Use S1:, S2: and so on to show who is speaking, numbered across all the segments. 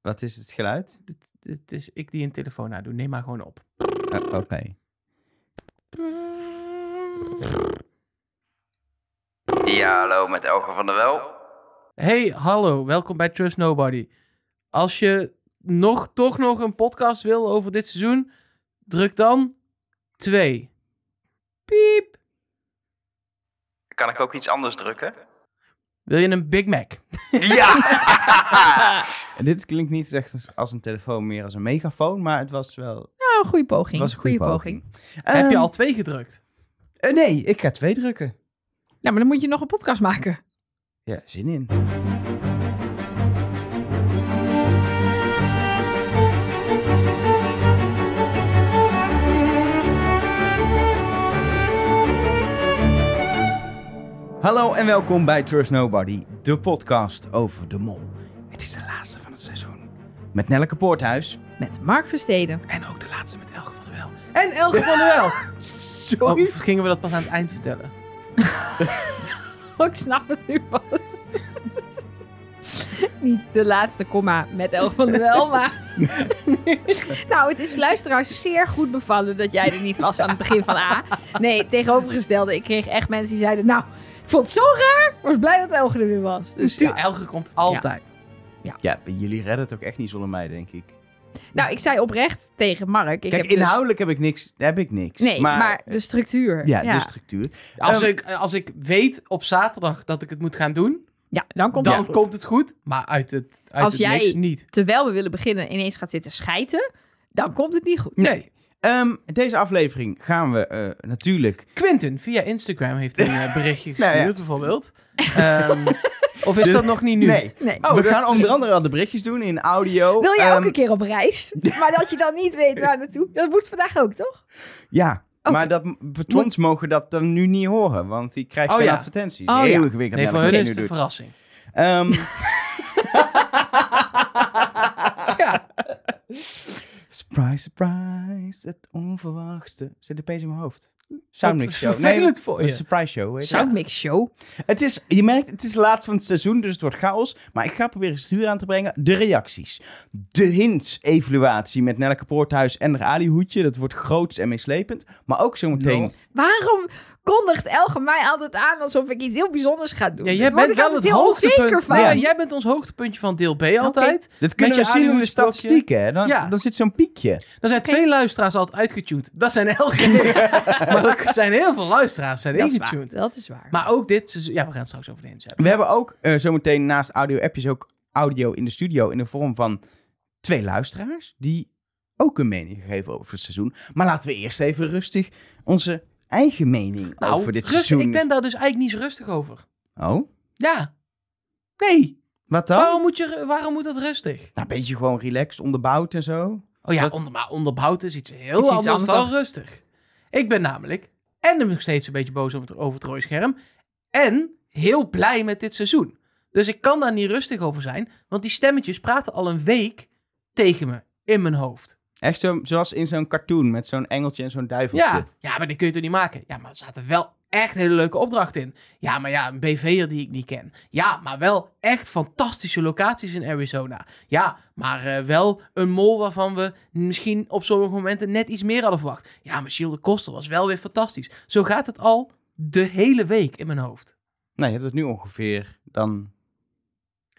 S1: Wat is het geluid?
S2: Dit, dit is ik die een telefoon naar doe. Neem maar gewoon op.
S1: Oh, Oké. Ja, hallo, met Elke van der Wel.
S2: Hey, hallo. Welkom bij Trust Nobody. Als je nog, toch nog een podcast wil over dit seizoen, druk dan 2. Piep.
S1: Kan ik ook iets anders drukken?
S2: Wil je een Big Mac?
S1: Ja! Dit klinkt niet echt als- als een telefoon, meer als een megafoon, maar het was wel...
S3: Nou, goede poging.
S1: Het was een goede poging.
S2: Heb je
S1: Ehm,
S2: al twee gedrukt?
S1: eh, nee, ik ga twee drukken.
S3: Nou, maar dan moet je nog een podcast maken.
S1: Ja, zin in. Hallo en welkom bij Trust Nobody, de podcast over de mol. Het is de laatste van het seizoen. Met Nelleke Poorthuis.
S3: Met Mark Versteden.
S2: En ook de laatste met Elge van der Wel. En Elge van der Wel.
S1: Sorry.
S2: Of gingen we dat pas aan het eind vertellen?
S3: Oh, ik snap het nu pas. Niet de laatste komma met Elf van der Wel, maar... nou, het is luisteraars zeer goed bevallen dat jij er niet was aan het begin van A. Nee, tegenovergestelde. Ik kreeg echt mensen die zeiden... Nou, ik vond het zo raar. Ik was blij dat Elge er weer was. Dus, ja.
S2: Tuur- Elge komt altijd.
S1: Ja, jullie redden het ook echt niet zonder mij, denk ik.
S3: Nou, ik zei oprecht tegen Mark... Ik
S1: Kijk,
S3: heb dus-
S1: inhoudelijk heb ik niks. Heb ik niks.
S3: Nee, maar, de structuur.
S1: ja, de structuur.
S2: Als,
S1: Ehm,
S2: ik, als ik weet op zaterdag dat ik het moet gaan doen,
S3: Ja, dan komt
S2: dan
S3: het goed.
S2: komt het goed. Maar uit het, uit
S3: Als
S2: het
S3: jij-
S2: niks niet.
S3: Terwijl we willen beginnen ineens gaat zitten schijten... dan komt het niet goed.
S1: Nee. Ehm, deze aflevering gaan we eh, natuurlijk.
S2: Quinten via Instagram heeft een eh, berichtje
S1: Nou ja.
S2: gestuurd, bijvoorbeeld. Ehm, of is
S1: De-
S2: dat nog niet nu?
S1: Nee.
S3: Nee.
S2: Oh,
S1: we
S2: dat
S1: gaan
S2: is-
S1: onder andere al de berichtjes doen in audio.
S3: Wil jij ook
S1: Ehm,
S3: een keer op reis? Maar dat je dan niet weet waar naartoe. Dat moet vandaag ook, toch?
S1: Ja.
S3: Oké.
S1: Maar dat betons mogen dat dan nu niet horen, want die krijgen
S2: Oh,
S1: geen
S2: ja.
S1: advertenties.
S3: Oh, ja.
S1: Heel ingewikkeld.
S2: Nee,
S1: ja,
S2: voor
S1: dat
S2: hun
S1: je
S2: is
S1: nu
S2: het
S1: doet.
S2: een verrassing.
S1: Ehm,
S2: Ja.
S1: surprise, surprise, het onverwachtste zit opeens in mijn hoofd.
S2: Wat
S1: Soundmix show.
S2: vervelend voor
S1: een
S2: je.
S1: surprise show. Heet het.
S3: Soundmix show.
S1: Het is, je merkt, het is laat van het seizoen, dus het wordt chaos. Maar ik ga proberen stuur aan te brengen. De reacties. De hints-evaluatie met Nelke Poorthuis en haar Ali-hoedje. Dat wordt groots en meeslepend. Maar ook zometeen...
S2: Lol.
S3: Waarom kondigt Elge mij altijd aan alsof ik iets heel bijzonders ga doen?
S2: Ja,
S3: Daar
S2: jij
S3: word
S2: bent
S3: ik
S2: wel
S3: altijd
S2: het
S3: heel onzeker
S2: hoogtepunt.
S3: van.
S2: Ja, jij bent ons hoogtepuntje van deel B altijd.
S1: Dat kunnen
S2: Met
S1: we
S2: je
S1: zien in de
S2: Ali-hoedje stokje.
S1: statistieken. hè. Dan,
S2: Ja.
S1: dan zit zo'n piekje.
S2: Er zijn twee luisteraars altijd uitgetuned. Dat zijn elke Maar er zijn heel veel luisteraars zijn
S3: dat, is waar.
S2: ingetuned.
S3: dat is waar.
S2: Maar ook dit seizoen... Ja, we gaan het straks over de hints hebben.
S1: We hebben ook eh, zometeen naast audio-appjes ook audio in de studio... in de vorm van twee luisteraars die ook een mening gegeven over het seizoen. Maar laten we eerst even rustig onze eigen mening
S2: Nou,
S1: over dit
S2: rustig,
S1: seizoen...
S2: ik ben daar dus eigenlijk niet zo rustig over.
S1: Oh,
S2: Ja. Nee.
S1: wat dan?
S2: Waarom, moet je, waarom moet dat rustig?
S1: Nou, een beetje gewoon relaxed, onderbouwd en zo.
S2: Oh ja,
S1: Wat-
S2: onder, maar onderbouwd is iets heel
S3: Is iets
S2: anders,
S3: anders
S2: dan
S3: dan-
S2: rustig. Ik ben namelijk en nog steeds een beetje boos over het, over het rode scherm. En heel blij met dit seizoen. Dus ik kan daar niet rustig over zijn. Want die stemmetjes praten al een week tegen me. In mijn hoofd.
S1: Echt zo, zoals in zo'n cartoon met zo'n engeltje en zo'n duiveltje.
S2: Ja, ja, maar die kun je toch niet maken? Ja, maar er zaten wel echt hele leuke opdrachten in. Ja, maar ja, een BV'er die ik niet ken. Ja, maar wel echt fantastische locaties in Arizona. Ja, maar eh, wel een mol waarvan we misschien op sommige momenten net iets meer hadden verwacht. Ja, maar Gilles de Koster was wel weer fantastisch. Zo gaat het al de hele week in mijn hoofd.
S1: Nou, je hebt het nu ongeveer dan...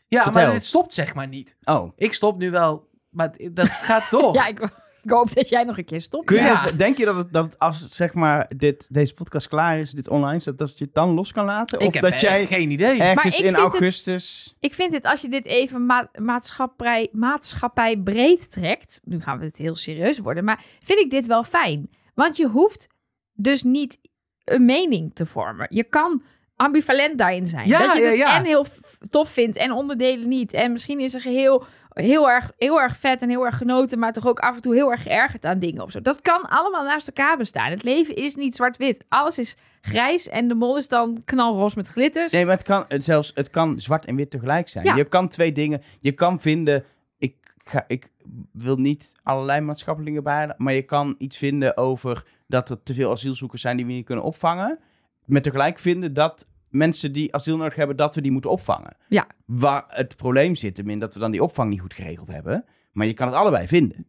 S2: Ja,
S1: Vertel.
S2: maar het stopt zeg maar niet.
S1: Oh.
S2: Ik stop nu wel, maar het- dat gaat door.
S3: Ja, ik, ik hoop dat jij nog een keer stopt.
S1: Kun je
S2: Ja.
S1: dat- denk je dat, het, dat het als zeg maar, dit, deze podcast klaar is, dit online staat, dat je het dan los kan laten?
S2: ik
S1: of
S2: heb
S1: dat
S2: echt
S1: jij
S2: geen idee.
S3: Maar ik
S1: ergens
S3: vind
S1: in
S3: het-
S1: augustus...
S3: Ik vind dit, als je dit even ma- maatschappij, maatschappij breed trekt. Nu gaan we het heel serieus worden. Maar vind ik dit wel fijn. Want je hoeft dus niet een mening te vormen. Je kan ambivalent daarin zijn.
S2: Ja,
S3: dat je
S2: ja,
S3: het
S2: ja.
S3: en heel f- tof vindt en onderdelen niet. En misschien is er geheel heel erg, heel erg vet en heel erg genoten. Maar toch ook af en toe heel erg geërgerd aan dingen of zo. Dat kan allemaal naast elkaar bestaan. Het leven is niet zwart-wit. Alles is grijs en de mol is dan knalroze met glitters.
S1: Nee, maar het kan, het zelfs, het kan zwart en wit tegelijk zijn.
S3: Ja.
S1: Je kan twee dingen... Je kan vinden... Ik, ga, ik wil niet allerlei maatschappelijke dingen bijhalen, maar je kan iets vinden over dat er te veel asielzoekers zijn die we niet kunnen opvangen. Met tegelijk vinden dat mensen die asiel nodig hebben, dat we die moeten opvangen.
S3: Ja.
S1: Waar het probleem zit hem in dat we dan die opvang niet goed geregeld hebben. Maar je kan het allebei vinden.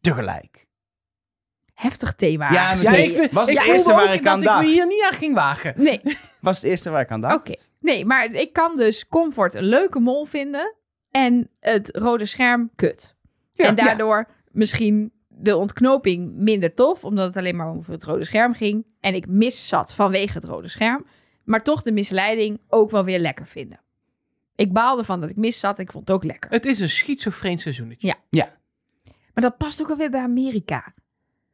S1: Tegelijk.
S3: Heftig thema.
S1: Ja,
S2: Ja,
S1: Nee,
S2: ik, vind-
S1: was
S2: ik
S1: het
S2: voelde
S1: eerste waar
S2: ook
S1: ik
S2: dat
S1: aan
S2: ik
S1: dacht.
S2: me hier niet aan ging wagen.
S3: Nee,
S1: Was het eerste waar ik aan dacht.
S3: Oké. nee, maar ik kan dus comfort een leuke mol vinden en het rode scherm kut.
S2: Ja.
S3: en daardoor misschien de ontknoping minder tof, omdat het alleen maar over het rode scherm ging. En ik mis zat vanwege het rode scherm, maar toch de misleiding ook wel weer lekker vinden. Ik baalde van dat ik mis zat en ik vond het ook lekker.
S2: Het is een schizofreen seizoenetje.
S3: Ja. Maar dat past ook alweer bij Amerika.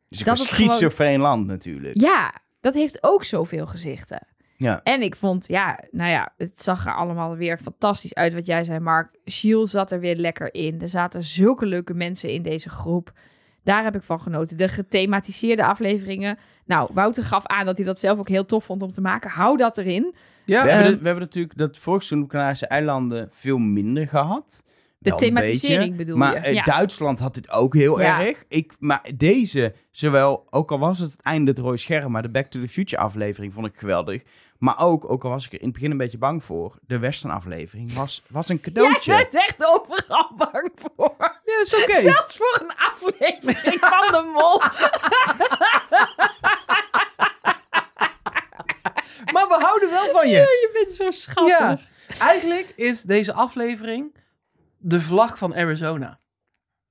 S1: Dus ik
S3: Dat
S1: was
S3: het gewoon-
S1: schizofreen land natuurlijk.
S3: Ja, dat heeft ook zoveel gezichten.
S1: Ja.
S3: En ik vond, ja, nou ja, het zag er allemaal weer fantastisch uit wat jij zei, Mark. Shield zat er weer lekker in. Er zaten zulke leuke mensen in deze groep. Daar heb ik van genoten. De gethematiseerde afleveringen. Nou, Wouter gaf aan dat hij dat zelf ook heel tof vond om te maken. Hou dat erin.
S2: Ja.
S1: We, hebben
S3: Ehm,
S1: de- we hebben natuurlijk dat vorig seizoen op Canarische eilanden veel minder gehad.
S3: De
S1: Wel een
S3: thematisering
S1: beetje.
S3: bedoel
S1: maar,
S3: je?
S1: eh,
S3: Ja.
S1: Duitsland had dit ook heel
S3: Ja.
S1: erg. Ik, maar deze, zowel, ook al was het het einde het rode scherm, maar de Back to the Future aflevering vond ik geweldig. Maar ook, ook al was ik er in het begin een beetje bang voor, de Western aflevering was, was een cadeautje.
S3: Jij bent echt overal bang voor.
S2: Ja, dat is oké.
S3: Zelfs voor een aflevering van de mol.
S2: Maar we houden wel van je.
S3: Je bent zo schattig.
S2: Ja. Eigenlijk is deze aflevering de vlag van Arizona.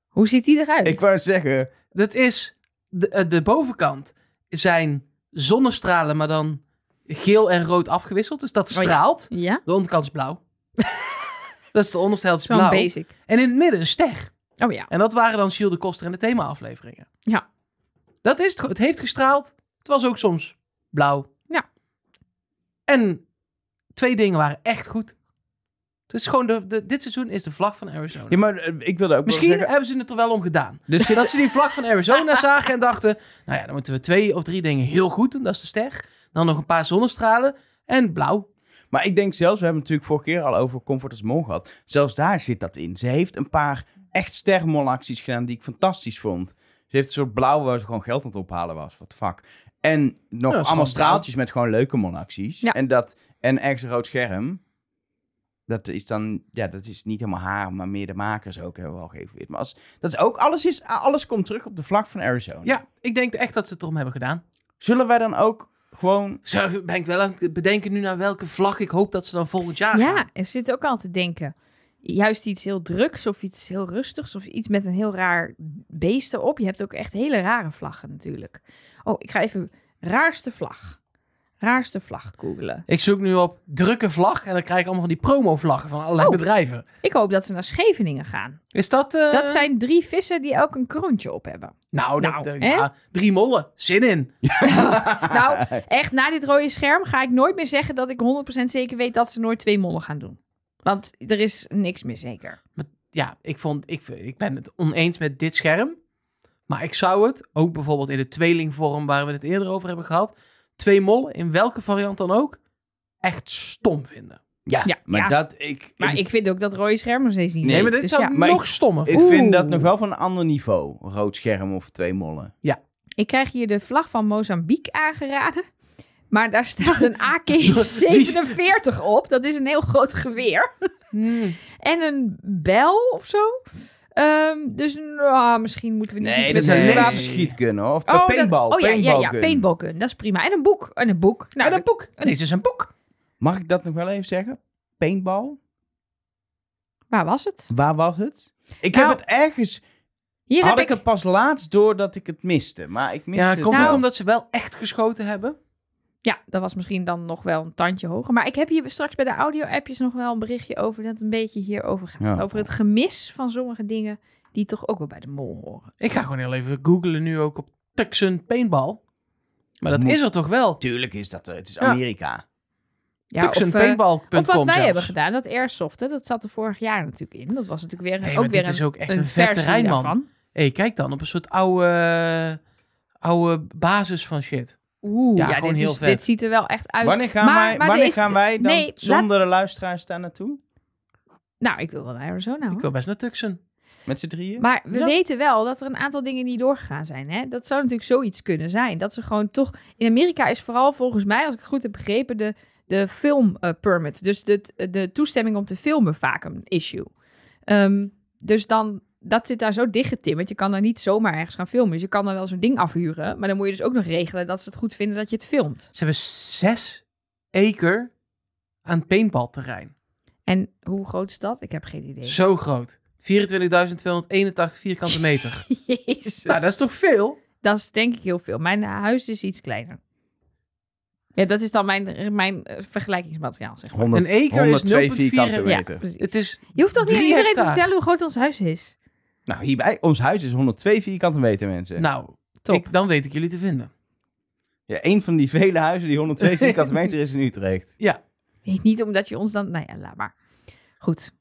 S3: Hoe ziet die eruit?
S1: Ik wou zeggen,
S2: Dat is de, eh, de bovenkant zijn zonnestralen, maar dan geel en rood afgewisseld. Dus dat
S3: Oh ja.
S2: straalt.
S3: Ja,
S2: De onderkant is blauw. dat is de onderste helft is
S3: zo'n
S2: blauw.
S3: basic.
S2: En in het midden een ster.
S3: Oh ja.
S2: En dat waren dan Shield de Koster en de thema-afleveringen.
S3: Ja.
S2: Dat is het. gewoon. Het heeft gestraald. Het was ook soms blauw.
S3: Ja.
S2: En twee dingen waren echt goed. Het is gewoon de, de- dit seizoen is de vlag van Arizona.
S1: ja, maar eh, ik wilde ook wel
S2: Misschien
S1: zeggen,
S2: hebben ze het er wel om gedaan.
S1: er zit-
S2: Dat ze die vlag van Arizona zagen en dachten... Nou ja, dan moeten we twee of drie dingen heel goed doen. Dat is de ster. Dan nog een paar zonnestralen. En blauw.
S1: Maar ik denk zelfs, we hebben het natuurlijk vorige keer al over Comfort als Mol gehad. Zelfs daar zit dat in. Ze heeft een paar echt sterrenmolacties gedaan die ik fantastisch vond. Ze heeft een soort blauw waar ze gewoon geld aan het ophalen was. Wat fuck. En nog
S2: dat is
S1: allemaal
S2: gewoon
S1: straaltjes met gewoon leuke molacties.
S3: Ja.
S1: En, dat, en ergens een rood scherm. Dat is dan, ja, dat is niet helemaal haar, maar meer de makers ook hebben we al geëvalueerd. Maar als, dat is ook, alles, is, alles komt terug op de vlak van Arizona.
S2: Ja, ik denk echt dat ze het erom hebben gedaan.
S1: Zullen wij dan ook gewoon
S2: Zo ben ik wel aan het bedenken nu naar welke vlag ik hoop dat ze dan volgend jaar gaan.
S3: Ja, en ze zitten ook aan te denken. Juist iets heel druks of iets heel rustigs of iets met een heel raar beest erop. Je hebt ook echt hele rare vlaggen natuurlijk. Oh, ik ga even raarste vlag. Raarste vlag googelen.
S2: Ik zoek nu op drukke vlag en dan krijg ik allemaal van die promo-vlaggen van allerlei
S3: Oh.
S2: bedrijven.
S3: Ik hoop dat ze naar Scheveningen gaan.
S2: Is dat... eh,
S3: Dat zijn drie vissen die elk een kroontje op hebben.
S2: Nou, dat-
S3: Nou,
S2: eh,
S3: hè?
S2: ja, drie mollen. Zin in.
S3: Nou, echt na dit rode scherm ga ik nooit meer zeggen dat ik 100% zeker weet dat ze nooit twee mollen gaan doen. Want er is niks meer zeker.
S2: Ja, ik, vond, ik, ik ben het oneens met dit scherm. Maar ik zou het, ook bijvoorbeeld in de tweelingvorm waar we het eerder over hebben gehad, twee mollen, in welke variant dan ook, echt stom vinden.
S1: Ja,
S3: Ja,
S1: maar
S3: ja.
S1: dat ik.
S3: Maar ik vind ook dat rode scherm nog steeds niet.
S1: Nee,
S2: Nee,
S3: leuk.
S2: maar dit
S3: Dus
S2: zou
S3: ja.
S1: Maar
S2: nog
S1: ik-
S2: stommer.
S1: ik vind dat
S3: Oeh.
S1: nog wel van een ander niveau. Een Rood scherm of twee mollen.
S3: Ik krijg hier de vlag van Mozambique aangeraden. Maar daar staat een AK-47 op. Dat is een heel groot geweer.
S2: Hmm.
S3: En een bel of zo. Ehm, dus nou, misschien moeten we niet iets
S1: Nee, dat
S3: met
S1: is een
S2: een
S3: wapens-
S1: laserschietgun hoor. Of
S3: Oh, dat-
S1: paintball.
S3: oh ja, ja, ja,
S1: paintballgun.
S3: paintballgun. Dat is prima. En een boek. En een boek. Nou,
S2: en een boek. Oh, Dit is een boek.
S1: Mag ik dat nog wel even zeggen? Paintball?
S3: waar was het?
S1: Waar was het? Ik
S3: Nou,
S1: heb het ergens...
S3: Hier
S1: had
S3: heb
S1: ik...
S3: ik...
S1: het pas laatst door dat ik het miste. Maar ik miste
S2: Ja,
S1: het nou.
S2: komt
S1: wel.
S2: ook omdat ze wel echt geschoten hebben.
S3: Ja, dat was misschien dan nog wel een tandje hoger. Maar ik heb hier straks bij de audio-appjes nog wel een berichtje over... dat het een beetje hierover gaat.
S1: Ja.
S3: Over het gemis van sommige dingen... die toch ook wel bij de mol horen.
S2: Ik ga gewoon heel even googlen nu ook op Tucson Paintball. Maar dat
S1: Moet-
S2: is er toch wel?
S1: Tuurlijk is dat er. Het is
S2: Ja.
S1: Amerika.
S3: Ja,
S2: Tucson
S3: of, eh,
S2: Paintball.com
S3: Of wat wij
S2: zelfs.
S3: hebben gedaan, dat airsoft, hè, dat zat er vorig jaar natuurlijk in. Dat was natuurlijk weer,
S2: Nee, maar
S3: ook weer
S2: dit is
S3: een,
S2: ook echt een, vet
S3: versie
S2: terrein, man.
S3: daarvan.
S2: Hé, kijk dan op een soort oude, oude basis van shit.
S3: Oeh,
S2: Ja,
S3: ja,
S2: gewoon
S3: dit,
S2: heel
S3: is,
S2: vet.
S3: dit ziet er wel echt uit.
S1: Wanneer gaan,
S3: Maar-
S1: wij,
S3: maar er
S1: wanneer
S3: is-
S1: gaan wij dan
S3: nee,
S1: zonder de luisteraars daar naartoe?
S3: Nou, ik wil wel naar Arizona,
S2: Ik
S3: hoor.
S2: wil best naar Tucson.
S1: Met z'n drieën?
S3: Maar we
S2: Ja.
S3: weten wel dat er een aantal dingen niet doorgegaan zijn. Hè? Dat zou natuurlijk zoiets kunnen zijn. Dat ze gewoon toch... In Amerika is vooral volgens mij, als ik het goed heb begrepen... de, de film eh, permit, dus de, de toestemming om te filmen, vaak een issue. Ehm, dus dan, dat zit daar zo dichtgetimmerd. Je kan daar niet zomaar ergens gaan filmen. Dus je kan dan wel zo'n ding afhuren, maar dan moet je dus ook nog regelen dat ze het goed vinden dat je het filmt.
S2: Ze hebben zes acre aan paintballterrein.
S3: En hoe groot is dat? Ik heb geen idee.
S2: Zo groot. 24.281 vierkante meter.
S3: Jezus.
S2: nou, dat is toch veel?
S3: Dat is denk ik heel veel. Mijn eh, huis is iets kleiner. Ja, dat is dan mijn, mijn eh, vergelijkingsmateriaal, zeg maar.
S1: 100,
S2: Een acre is
S1: 102
S2: 0,4
S1: vierkante
S3: Ja,
S1: meter.
S3: precies.
S2: Het is
S3: Je hoeft toch niet aan
S2: drie
S3: iedereen te
S2: hectare.
S3: vertellen hoe groot ons huis is?
S1: Nou, hierbij, ons huis is 102 vierkante meter, mensen.
S2: Nou,
S3: Top.
S2: ik- dan weet ik jullie te vinden.
S1: Ja, een van die vele huizen die 102 vierkante meter is in Utrecht.
S3: Weet niet omdat je ons dan... Nou ja, laat maar. Goed.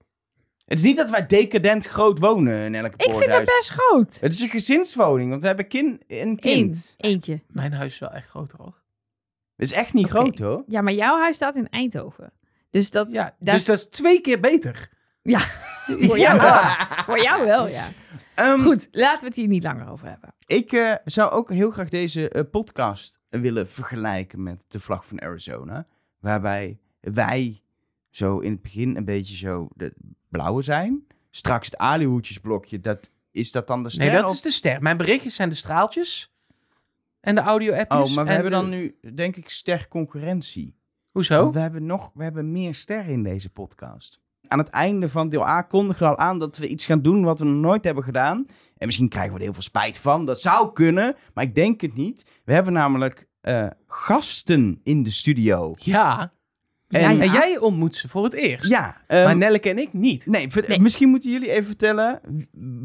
S1: Het is niet dat wij decadent groot wonen in elke
S3: Ik vind dat best groot.
S1: Het is een gezinswoning, want we hebben kin een kind.
S3: Eén. Eentje.
S2: Mijn huis is wel echt groot hoor.
S1: Het is echt niet
S3: Oké.
S1: groot, hoor.
S3: Ja, maar jouw huis staat in Eindhoven. Dus dat...
S2: Ja,
S3: dat-
S2: dus dat is twee keer beter.
S3: Ja. Voor jou, voor jou wel, ja.
S1: Ehm,
S3: Goed, laten we het hier niet langer over hebben.
S1: Ik eh, zou ook heel graag deze eh, podcast willen vergelijken met de vlag van Arizona. Waarbij wij zo in het begin een beetje zo de blauwe zijn. Straks het alihoedjesblokje, dat, is dat dan de ster?
S2: Nee, dat
S1: of-
S2: is de ster. Mijn berichtjes zijn de straaltjes en de audio-appjes.
S1: Oh, maar we
S2: dus en
S1: hebben dan
S2: de-
S1: nu, denk ik, ster concurrentie.
S2: Hoezo?
S1: Want we hebben nog, we hebben meer sterren in deze podcast. Aan het einde van deel A kondigen we al aan dat we iets gaan doen wat we nog nooit hebben gedaan. En misschien krijgen we er heel veel spijt van. Dat zou kunnen, maar ik denk het niet. We hebben namelijk eh, gasten in de studio.
S2: Ja.
S1: En-
S3: ja, ja.
S2: En jij ontmoet ze voor het eerst.
S1: Ja, ehm,
S2: maar Nelleke en ik niet.
S1: nee, ver-
S3: Nee.
S1: misschien moeten jullie even vertellen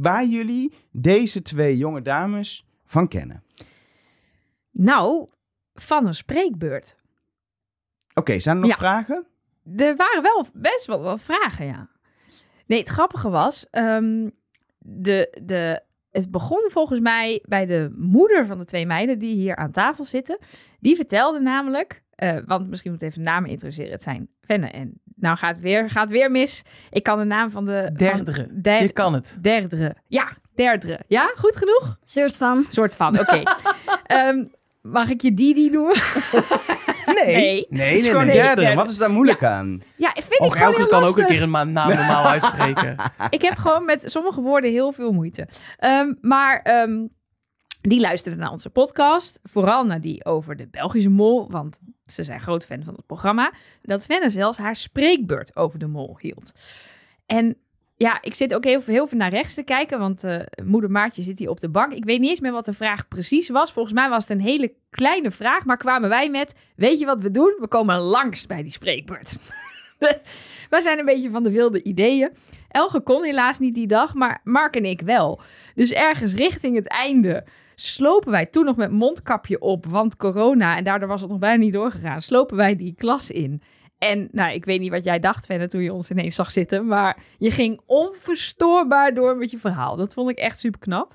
S1: waar jullie deze twee jonge dames van kennen.
S3: Nou, van een spreekbeurt.
S1: Oké, zijn er nog
S3: Ja.
S1: vragen?
S3: Er waren wel best wel wat vragen, ja. Nee, het grappige was, ehm, de, de, het begon volgens mij bij de moeder van de twee meiden die hier aan tafel zitten. Die vertelde namelijk, eh, want misschien moet ik even namen introduceren. Het zijn Venne en nou gaat het weer, gaat weer mis. Ik kan de naam van de...
S2: Derdere.
S3: Van, der-
S2: Je kan het.
S3: Derdere. Ja, derdere. Ja, goed genoeg?
S4: Soort van.
S3: Soort van, oké. Ehm, mag ik je Didi noemen?
S2: Nee.
S3: Nee.
S2: nee,
S1: Het is gewoon
S3: nee,
S1: derde.
S3: derde.
S1: Wat is daar moeilijk aan?
S3: Ja, vind ik
S2: Och,
S3: gewoon heel
S2: Elke
S3: lastig.
S2: kan ook een keer een ma- naam normaal uitspreken.
S3: ik heb gewoon met sommige woorden heel veel moeite. Ehm, maar ehm, die luisterden naar onze podcast. Vooral naar die over de Belgische mol. Want ze zijn groot fan van het programma. Dat Svenne zelfs haar spreekbeurt over de mol hield. En ja, ik zit ook heel, heel veel naar rechts te kijken. Want eh, moeder Maartje zit hier op de bank. Ik weet niet eens meer wat de vraag precies was. Volgens mij was het een hele kleine vraag. Maar kwamen wij met, weet je wat we doen? We komen langs bij die spreekbeurt. wij zijn een beetje van de wilde ideeën. Elge kon helaas niet die dag, maar Mark en ik wel. Dus ergens richting het einde slopen wij toen nog met mondkapje op, want corona, en daardoor was het nog bijna niet doorgegaan, slopen wij die klas in. En nou, ik weet niet wat jij dacht, Venne, toen je ons ineens zag zitten, maar je ging onverstoorbaar door met je verhaal. Dat vond ik echt super knap.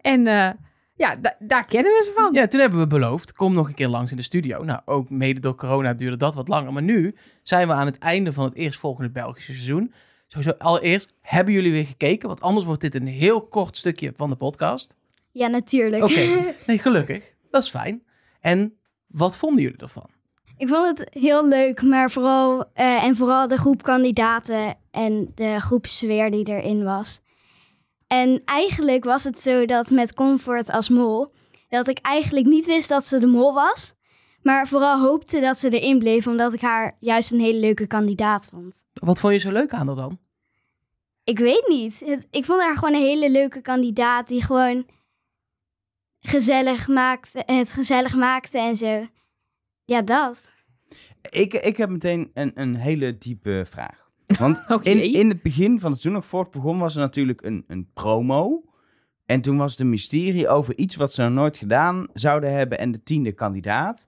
S3: En eh, ja, da- daar kennen we ze van.
S2: Ja, toen hebben we beloofd, kom nog een keer langs in de studio. Nou, ook mede door corona duurde dat wat langer. Maar nu zijn we aan het einde van het eerstvolgende Belgische seizoen. Sowieso, allereerst, hebben jullie weer gekeken? Want anders wordt dit een heel kort stukje van de podcast.
S4: Ja, natuurlijk.
S2: Oké, nee, gelukkig. Dat is fijn. En wat vonden jullie ervan?
S4: Ik vond het heel leuk, maar vooral, eh, en vooral de groep kandidaten en de groepsfeer die erin was. En eigenlijk was het zo dat met Comfort als mol, dat ik eigenlijk niet wist dat ze de mol was. Maar vooral hoopte dat ze erin bleef, omdat ik haar juist een hele leuke kandidaat vond.
S2: Wat vond je zo leuk aan haar dan?
S4: Ik weet niet. Het- ik vond haar gewoon een hele leuke kandidaat die gewoon gezellig maakte, het gezellig maakte en zo. Ja, dat.
S1: Ik, ik heb meteen een, een hele diepe vraag. Want
S3: Oké.
S1: in, in het begin van het seizoen, nog voor het begon, was er natuurlijk een, een promo. En toen was het een mysterie over iets wat ze nog nooit gedaan zouden hebben en de tiende kandidaat.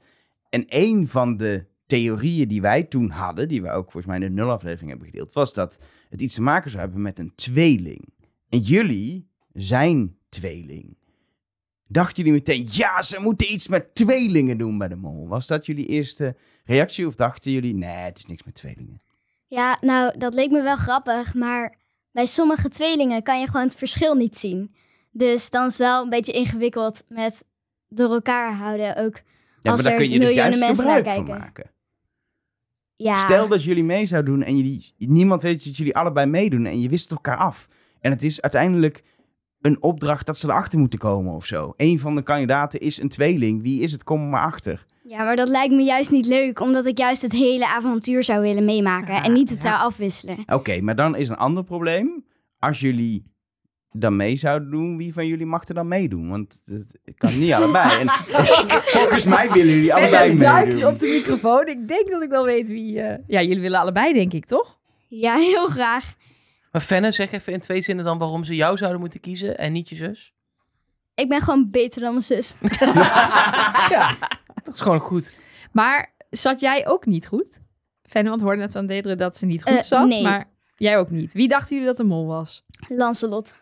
S1: En een van de theorieën die wij toen hadden, die we ook volgens mij in de nulaflevering hebben gedeeld, was dat het iets te maken zou hebben met een tweeling. En jullie zijn tweeling. Dachten jullie meteen, ja, ze moeten iets met tweelingen doen bij de mol. Was dat jullie eerste reactie of dachten jullie, nee, het is niks met tweelingen?
S4: Ja, nou, dat leek me wel grappig, maar bij sommige tweelingen kan je gewoon het verschil niet zien. Dus dan is het wel een beetje ingewikkeld met door elkaar houden ook.
S1: Ja, maar
S4: Als
S1: daar
S4: er
S1: kun je dus
S4: miljoenen
S1: juist
S4: mensen
S1: gebruik
S4: naar
S1: van
S4: kijken.
S1: maken.
S4: Ja,
S1: Stel dat jullie mee zouden doen en jullie, niemand weet dat jullie allebei meedoen en je wisselt elkaar af. En het is uiteindelijk een opdracht dat ze erachter moeten komen of zo. Eén van de kandidaten is een tweeling. Wie is het? Kom er maar achter.
S4: ja, maar dat lijkt me juist niet leuk, omdat ik juist het hele avontuur zou willen meemaken
S2: Ja,
S4: en niet het
S2: ja.
S4: zou afwisselen.
S1: Oké, maar dan is een ander probleem. Als jullie dan mee zouden doen, wie van jullie mag er dan meedoen? Want het het kan niet allebei. En volgens mij willen jullie allebei
S3: Verder duikt
S1: meedoen.
S3: op de microfoon. Ik denk dat ik wel weet wie... eh, Ja, jullie willen allebei, denk ik, toch?
S4: Ja, heel graag.
S2: Maar Fenne, zeg even in twee zinnen dan waarom ze jou zouden moeten kiezen en niet je zus.
S4: Ik ben gewoon beter dan mijn zus.
S2: Dat is gewoon goed.
S3: Maar zat jij ook niet goed? Fenne, want hoorde net van Dedere dat ze niet goed
S4: Eh,
S3: zat.
S4: nee.
S3: Maar jij ook niet. Wie dachten jullie dat de mol was?
S4: Lancelot.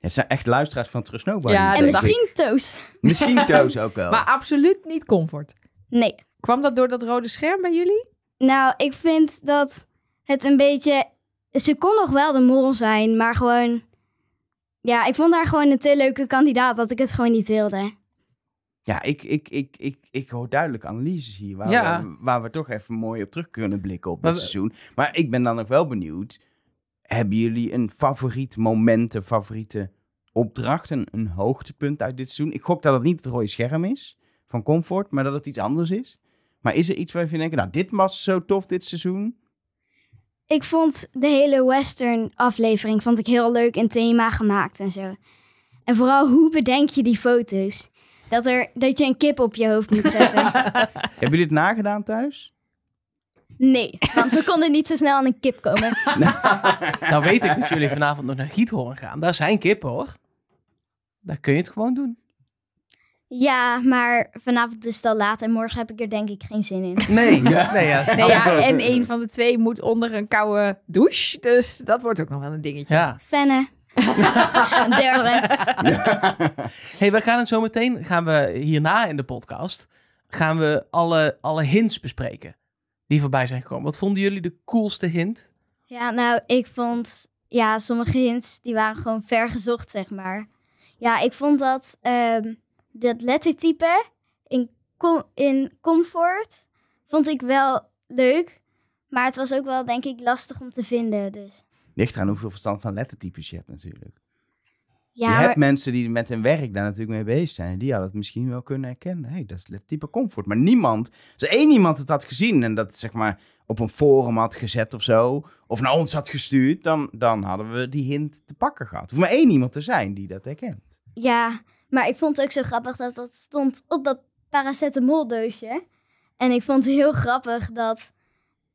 S1: Het zijn echt luisteraars van Trust Nobody.
S3: Ja,
S1: denk
S4: en
S1: ik.
S4: misschien Toos.
S1: Misschien Toos ook wel.
S3: Maar absoluut niet comfort.
S4: Nee.
S3: Kwam dat door dat rode scherm bij jullie?
S4: Nou, ik vind dat het een beetje... Ze kon nog wel de mol zijn, maar gewoon... Ja, ik vond haar gewoon een te leuke kandidaat dat ik het gewoon niet wilde.
S1: Ja, ik, ik, ik, ik, ik hoor duidelijk analyses hier. Waar,
S2: Ja.
S1: we, waar we toch even mooi op terug kunnen blikken op
S2: Maar
S1: dit
S2: we-
S1: seizoen. Maar ik ben dan ook wel benieuwd. Hebben jullie een favoriet moment, een favoriete opdracht, een, een hoogtepunt uit dit seizoen? Ik gok dat het niet het rode scherm is van Comfort, maar dat het iets anders is. Maar is er iets waarvan je denkt, nou, dit was zo tof dit seizoen?
S4: Ik vond de hele western aflevering vond ik heel leuk en thema gemaakt en zo. En vooral hoe bedenk je die foto's? Dat, er, dat je een kip op je hoofd moet zetten.
S1: Hebben jullie het nagedaan thuis?
S4: Nee, want we konden niet zo snel aan een kip komen.
S2: Nou weet ik dat jullie vanavond nog naar Giethoorn gaan. Daar zijn kippen hoor. Daar kun je het gewoon doen.
S4: Ja, maar vanavond is het al laat en morgen heb ik er denk ik geen zin in.
S2: Nee. Nee, ja, snap
S3: Nee,
S2: ik.
S3: ja, en een van de twee moet onder een koude douche. Dus dat wordt ook nog wel een dingetje.
S2: ja.
S4: Fenne. Derde.
S2: hey, we gaan het zo meteen, gaan we hierna in de podcast, gaan we alle, alle hints bespreken die voorbij zijn gekomen. Wat vonden jullie de coolste hint?
S4: Ja, nou, ik vond... Ja, sommige hints, die waren gewoon ver gezocht, zeg maar. Ja, ik vond dat... ehm dat lettertype in, com in comfort vond ik wel leuk. Maar het was ook wel, denk ik, lastig om te vinden, dus...
S1: Ligt eraan hoeveel verstand van lettertypes je hebt natuurlijk.
S4: Ja,
S1: je hebt
S4: maar,
S1: mensen die met hun werk daar natuurlijk mee bezig zijn. En die hadden het misschien wel kunnen herkennen. hey, dat is het type comfort. Maar niemand, als er één iemand het had gezien en dat zeg maar op een forum had gezet of zo. Of naar ons had gestuurd. Dan, dan hadden we die hint te pakken gehad. Er hoeft maar één iemand te zijn die dat herkent.
S4: ja, maar ik vond het ook zo grappig dat dat stond op dat paracetamoldoosje. En ik vond het heel grappig dat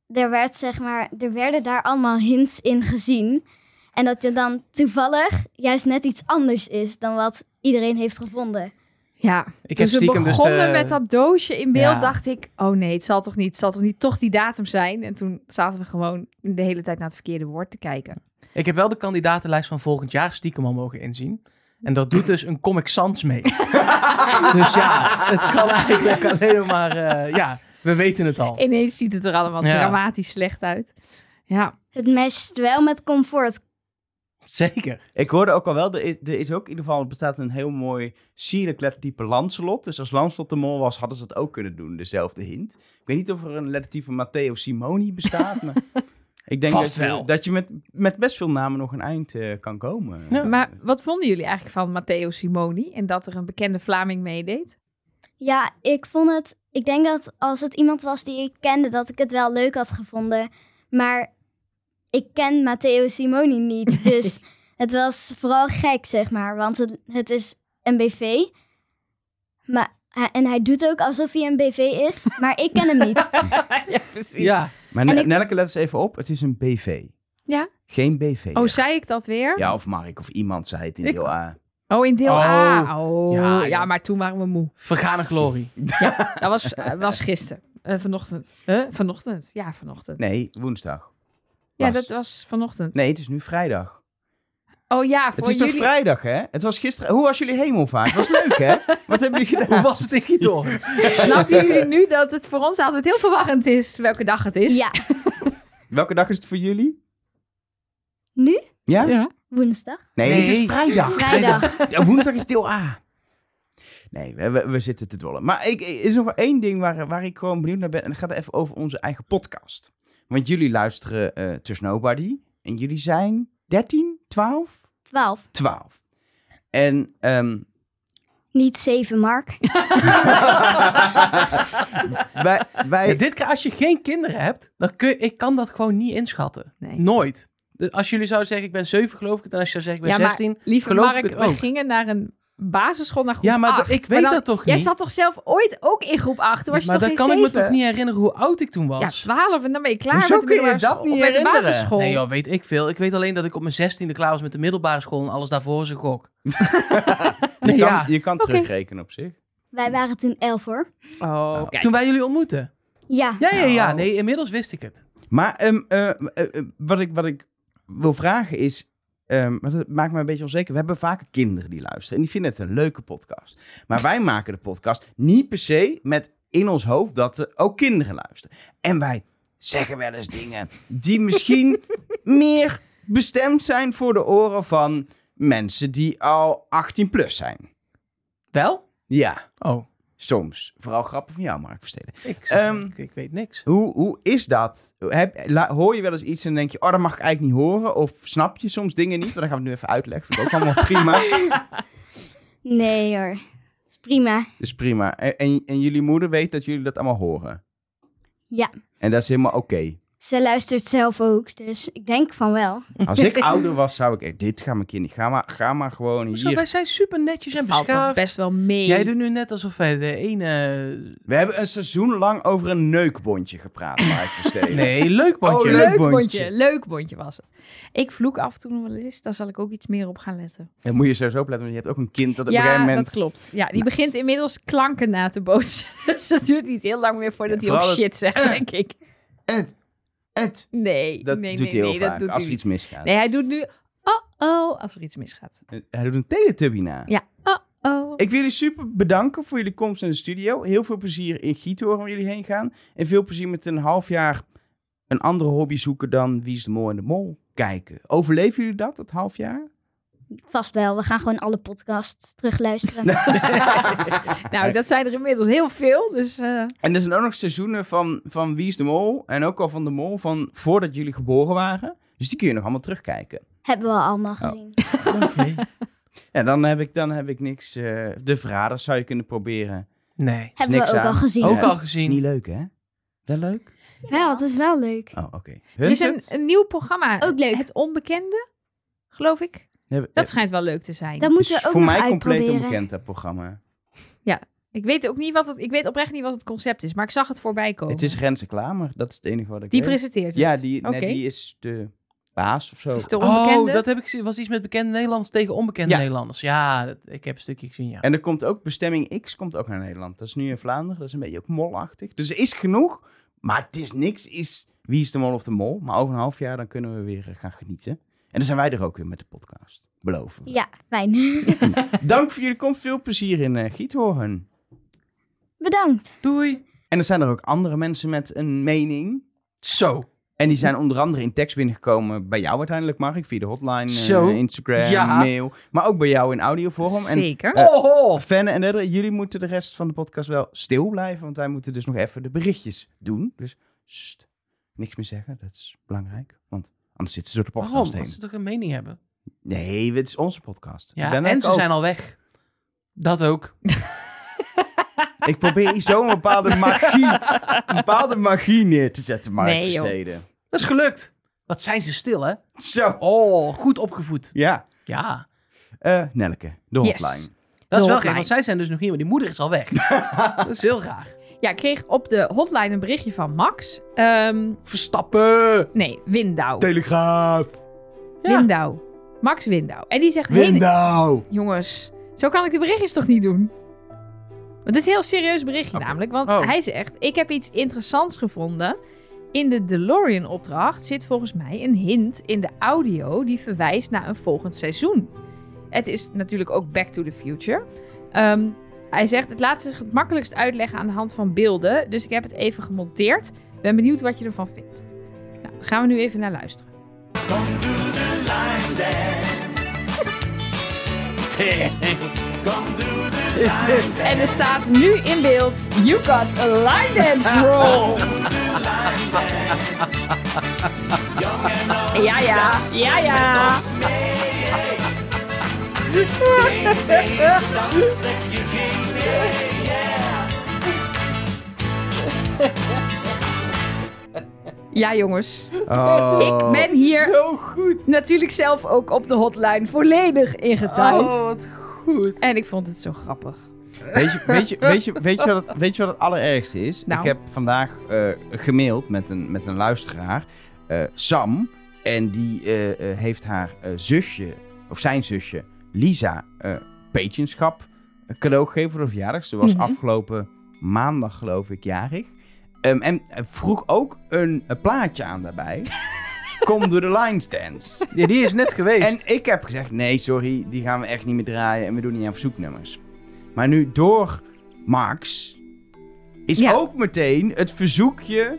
S4: er, werd, zeg maar, er werden daar allemaal hints in gezien. En dat je dan toevallig juist net iets anders is dan wat iedereen heeft gevonden.
S3: Ja,
S2: Ik
S3: toen
S2: heb
S3: ze
S2: stiekem
S3: begonnen
S2: dus de-
S3: met dat doosje in beeld,
S2: Ja.
S3: dacht ik... oh nee, het zal toch niet, het zal toch niet toch die datum zijn? En toen zaten we gewoon de hele tijd naar het verkeerde woord te kijken.
S2: Ik heb wel de kandidatenlijst van volgend jaar stiekem al mogen inzien. En dat doet dus een Comic Sans mee. dus ja, het kan eigenlijk alleen maar... eh, ja, we weten het al.
S3: Ineens ziet het er allemaal
S2: Ja.
S3: dramatisch slecht uit. Ja,
S4: Het matcht wel met comfort.
S2: Zeker.
S1: Ik hoorde ook al wel, er is, er is ook in ieder geval, er bestaat een heel mooi sierlijk lettertype Lancelot. Dus als Lancelot de mol was, hadden ze dat ook kunnen doen, dezelfde hint. Ik weet niet of er een lettertype Matteo Simoni bestaat, maar... Ik denk
S2: Vast
S1: dat je,
S2: wel.
S1: dat je met, met best veel namen nog een eind eh, kan komen.
S2: Ja.
S3: maar wat vonden jullie eigenlijk van Matteo Simoni... en dat er een bekende Vlaming meedeed?
S4: Ja, ik vond het. Ik denk dat als het iemand was die ik kende, dat ik het wel leuk had gevonden. Maar ik ken Matteo Simoni niet. Dus het was vooral gek, zeg maar. Want het, het is een BV. Maar, hij- en hij doet ook alsof hij een BV is. Maar ik ken hem niet.
S3: ja, precies.
S2: Ja,
S1: Maar
S4: En
S1: ne-
S4: ik-
S1: Nelke, let eens even op. Het is een BV.
S3: Ja?
S1: Geen BV.
S3: Oh, zei ik dat weer?
S1: Ja, of Mark of iemand zei het in
S2: Ik-
S1: deel A.
S3: Oh, in deel
S2: Oh.
S3: A. Oh,
S2: Ja,
S3: ja,
S2: ja.
S3: maar toen waren we moe.
S2: vergane glorie.
S3: Dat was, eh, was gisteren. Eh, vanochtend. Huh? Vanochtend? Ja, vanochtend.
S1: Nee, woensdag.
S3: ja,
S1: was.
S3: dat was vanochtend.
S1: Nee, het is nu vrijdag.
S3: Oh ja, voor
S1: Het is toch
S3: jullie...
S1: vrijdag, hè? Het was gisteren... Hoe was jullie hemelvaart? Het was leuk, hè? Wat hebben jullie
S2: Hoe
S1: gedaan?
S2: was het in Giethoorn?
S3: Snappen jullie nu dat het voor ons altijd heel verwarrend is welke dag het is?
S4: Ja,
S1: Welke dag is het voor jullie?
S4: nu?
S1: Ja?
S3: Ja.
S4: Woensdag?
S1: Nee, het is
S2: Nee.
S1: vrijdag.
S4: Vrijdag.
S1: Ja, woensdag is deel A. Nee, we, we, we zitten te dollen. Maar ik, er is nog wel één ding waar, waar ik gewoon benieuwd naar ben. En dat gaat even over onze eigen podcast. Want jullie luisteren eh There's Nobody. En jullie zijn 13, 12?
S4: 12.
S1: 12. En ehm,
S4: Niet 7, Mark.
S1: wij,
S2: Ja,
S1: wij,
S2: dit keer, als je geen kinderen hebt, dan kun je- ik kan dat gewoon niet inschatten.
S3: Nee.
S2: Nooit. Dus als jullie zouden zeggen, ik ben 7, geloof ik het. En als je zou zeggen, ik
S3: Ja,
S2: ben
S3: maar
S2: 16.
S3: lieve
S2: geloof
S3: Mark,
S2: ik het
S3: we
S2: ook.
S3: gingen naar een basisschool naar groep
S2: Ja, maar dat-
S3: 8.
S2: ik weet
S3: dan-
S2: dat toch
S3: Jij
S2: niet?
S3: zat toch zelf ooit ook in groep 8? Toen was
S2: maar
S3: je
S2: dan
S3: toch
S2: kan
S3: geen
S2: ik me
S3: zeven?
S2: toch niet herinneren hoe oud ik toen was.
S3: Ja, 12 en dan ben je klaar
S1: Hoezo
S3: met de
S1: kun je
S3: middelbare
S1: dat
S3: school.
S1: niet
S3: of met de
S1: herinneren?
S3: basisschool.
S2: Nee joh, weet ik veel. Ik weet alleen dat ik op mijn zestiende klaar was met de middelbare school en alles daarvoor is een gok.
S1: je,
S2: ja.
S1: kan, je kan
S3: Oké.
S1: terugrekenen op zich.
S4: Wij waren toen 11 hoor.
S3: Oh, kijk.
S2: Toen wij jullie ontmoeten.
S4: Ja.
S2: Ja, ja, ja.
S3: Nou.
S2: Nee, inmiddels wist ik het.
S1: Maar ehm, eh, eh, eh, wat, ik, wat ik wil vragen is. ehm, want dat maakt me een beetje onzeker. We hebben vaker kinderen die luisteren. En die vinden het een leuke podcast. Maar wij maken de podcast niet per se met in ons hoofd dat er ook kinderen luisteren. En wij zeggen wel eens dingen die misschien meer bestemd zijn voor de oren van mensen die al 18 plus zijn.
S2: Wel?
S1: Ja,
S2: Oh,
S1: soms. Vooral grappen van jou, Mark Versteden.
S2: ik,
S1: Ehm,
S2: ik, ik weet niks.
S1: Hoe, hoe is dat? Heb, la- hoor je wel eens iets en denk je, oh, dat mag ik eigenlijk niet horen? Of snap je soms dingen niet? Want dan gaan we het nu even uitleggen. Vind ik ook allemaal prima.
S4: Nee hoor. Dat is prima.
S1: Dus prima. En, en, en jullie moeder weet dat jullie dat allemaal horen?
S4: Ja.
S1: En dat is helemaal oké.
S4: Ze luistert zelf ook, dus ik denk van wel.
S1: Als ik ouder was, zou ik, eh, dit gaat mijn kind niet. Ga maar, ga maar gewoon
S2: Hoezo, wij
S1: hier.
S2: zijn super netjes en
S3: Valt toch
S2: beschaafd.
S3: best wel mee.
S2: Jij doet nu net alsof wij de ene...
S1: We hebben een seizoen lang over een neukbondje gepraat, Mark Versteden.
S2: Nee, leuk bondje.
S1: Oh,
S3: Leuk
S1: Leuk bondje.
S3: bondje, leuk bondje was het. Ik vloek af en toe nog wel eens, daar zal ik ook iets meer op gaan letten.
S1: Dan moet je sowieso opletten, want je hebt ook een kind dat op een
S3: ja,
S1: gegeven moment...
S3: dat klopt. Ja, die begint inmiddels klanken na te bootsen. Dus dat duurt niet heel lang meer voordat
S1: Ja,
S3: hij op
S1: vooral het-
S3: shit zegt, denk ik.
S1: Het, het.
S3: Nee,
S1: Dat
S3: nee,
S1: doet
S3: nee,
S1: hij heel
S3: nee,
S1: vaak,
S3: dat doet
S1: als
S3: hij
S1: er
S3: niet.
S1: iets misgaat.
S3: Nee, hij doet nu oh-oh als er iets misgaat. Oh.
S1: Hij doet een teletubby na.
S3: Ja, oh-oh.
S1: Ik wil jullie super bedanken voor jullie komst in de studio. Heel veel plezier in Giethoorn waar jullie heen gaan. En veel plezier met een half jaar een andere hobby zoeken dan Wie is de Mol en de Mol kijken. Overleven jullie dat, dat half jaar?
S4: Vast wel. We gaan gewoon alle podcasts terugluisteren.
S3: Nou, dat zijn er inmiddels heel veel, dus... eh,
S1: En er zijn ook nog seizoenen van, van Wie is de Mol en ook al van de Mol van voordat jullie geboren waren. Dus die kun je nog allemaal terugkijken.
S4: Hebben we al allemaal
S1: Oh.
S4: gezien.
S2: Oké.
S1: Ja, dan heb ik, dan heb ik niks. eh, de Verraders zou je kunnen proberen.
S2: Nee.
S1: Is
S4: Hebben we
S1: niks
S4: ook
S1: aan.
S4: al gezien.
S2: Ook
S1: Ja,
S2: al
S1: Is
S2: gezien.
S1: niet leuk, hè? Wel leuk?
S4: Wel, het is wel leuk.
S1: Oh, oké.
S3: er is
S1: Hunted?
S3: een, een nieuw programma.
S4: Ook leuk.
S3: Het Onbekende, geloof ik.
S1: Hebben-
S3: Dat schijnt wel leuk te zijn.
S4: Dat
S1: is
S4: moeten we ook
S1: voor
S4: nog
S1: mij compleet
S4: uitproberen.
S1: onbekend, dat programma.
S3: Ik weet ook niet wat het, ik weet oprecht niet wat het concept is, maar ik zag het voorbij komen.
S1: Het is Renze Klamer, dat is het enige wat ik
S3: Oh. die
S1: weet.
S3: presenteert het.
S1: Ja, die,
S3: Oké.
S1: nee, die is de baas of zo.
S3: Is de onbekende.
S2: Oh, dat heb ik gezien. was iets met bekende Nederlanders tegen onbekende
S1: Ja.
S2: Nederlanders. Ja, dat, ik heb een stukje gezien, ja.
S1: En er komt ook, bestemming X komt ook naar Nederland. Dat is nu in Vlaanderen, dat is een beetje ook molachtig. Dus er is genoeg, maar het is niks. Is wie is de mol of de mol? Maar over een half jaar dan kunnen we weer eh, gaan genieten. En dan zijn wij er ook weer met de podcast. Beloven. we.
S4: Ja, fijn.
S1: Dank voor jullie komst. Veel plezier in eh Giethoorn.
S4: Bedankt.
S2: Doei.
S1: En er zijn er ook andere mensen met een mening.
S2: Zo.
S1: En die zijn onder andere in tekst binnengekomen bij jou uiteindelijk, Mark. Via de hotline, eh,
S2: Zo.
S1: Instagram,
S2: Ja.
S1: mail. Maar ook bij jou in audiovorm. En
S3: Zeker.
S1: Eh,
S2: Oh,
S1: Fenne en derde, jullie moeten de rest van de podcast wel stil blijven, want wij moeten dus nog even de berichtjes doen. Dus sst, niks meer zeggen, dat is belangrijk, want anders zitten ze door de podcast
S2: waarom?
S1: heen.
S2: Als ze toch een mening hebben.
S1: Nee, het is onze podcast.
S2: Ja,
S1: Ben
S2: en
S1: ik
S2: ze
S1: ook.
S2: zijn al weg. Dat ook.
S1: Ik probeer hier zo'n bepaalde magie, een bepaalde magie neer te zetten, Mark
S3: Nee, joh.
S1: Versteden.
S2: Dat is gelukt. Wat zijn ze stil, hè?
S1: Zo.
S2: Oh, goed opgevoed.
S1: Ja,
S2: Ja.
S1: eh, Nelke, de
S3: Yes.
S1: hotline.
S2: Dat is wel
S3: Hotline.
S2: gek, want zij zijn dus nog hier, maar die moeder is al weg. dat is heel raar.
S3: Ja, ik kreeg op de hotline een berichtje van Max. Ehm,
S2: Verstappen.
S3: nee, Windouw.
S1: Telegraaf,
S2: Ja.
S3: Windouw. Max Windouw. En die zegt... hele-
S1: Window.
S3: Jongens, zo kan ik de berichtjes toch niet doen? Want het is een heel serieus berichtje
S1: Oké.
S3: namelijk. Want
S2: Oh.
S3: hij zegt, ik heb iets interessants gevonden. In de DeLorean-opdracht zit volgens mij een hint in de audio... die verwijst naar een volgend seizoen. Het is natuurlijk ook Back to the Future. Ehm, hij zegt, het laat zich het makkelijkst uitleggen aan de hand van beelden. Dus ik heb het even gemonteerd. Ben benieuwd wat je ervan vindt. Nou, daar gaan we nu even naar luisteren.
S2: Is dit?
S3: En er staat nu in beeld: You got a line dance roll. Ja, ja, ja, ja. Ja, jongens.
S1: Oh.
S3: Ik ben hier
S2: Zo goed.
S3: natuurlijk zelf ook op de hotline volledig ingetimed.
S2: Oh, wat goed.
S3: En ik vond het zo grappig.
S1: Weet je, weet, je, weet, je, weet, je wat het, weet je wat het allerergste is?
S3: Nou.
S1: Ik heb vandaag eh, gemaild met een, met een luisteraar, eh, Sam. En die eh, eh, heeft haar eh, zusje, of zijn zusje, Lisa, eh petenschap cadeau gegeven voor de verjaardag. Ze was
S3: Mhm.
S1: afgelopen maandag, geloof ik, jarig. Ehm, en vroeg ook een, eh, plaatje aan daarbij. Kom door de line dance.
S2: Ja, die is net geweest.
S1: En ik heb gezegd, nee, sorry, die gaan we echt niet meer draaien en we doen niet aan verzoeknummers. Maar nu door Max is
S3: Ja.
S1: ook meteen het verzoekje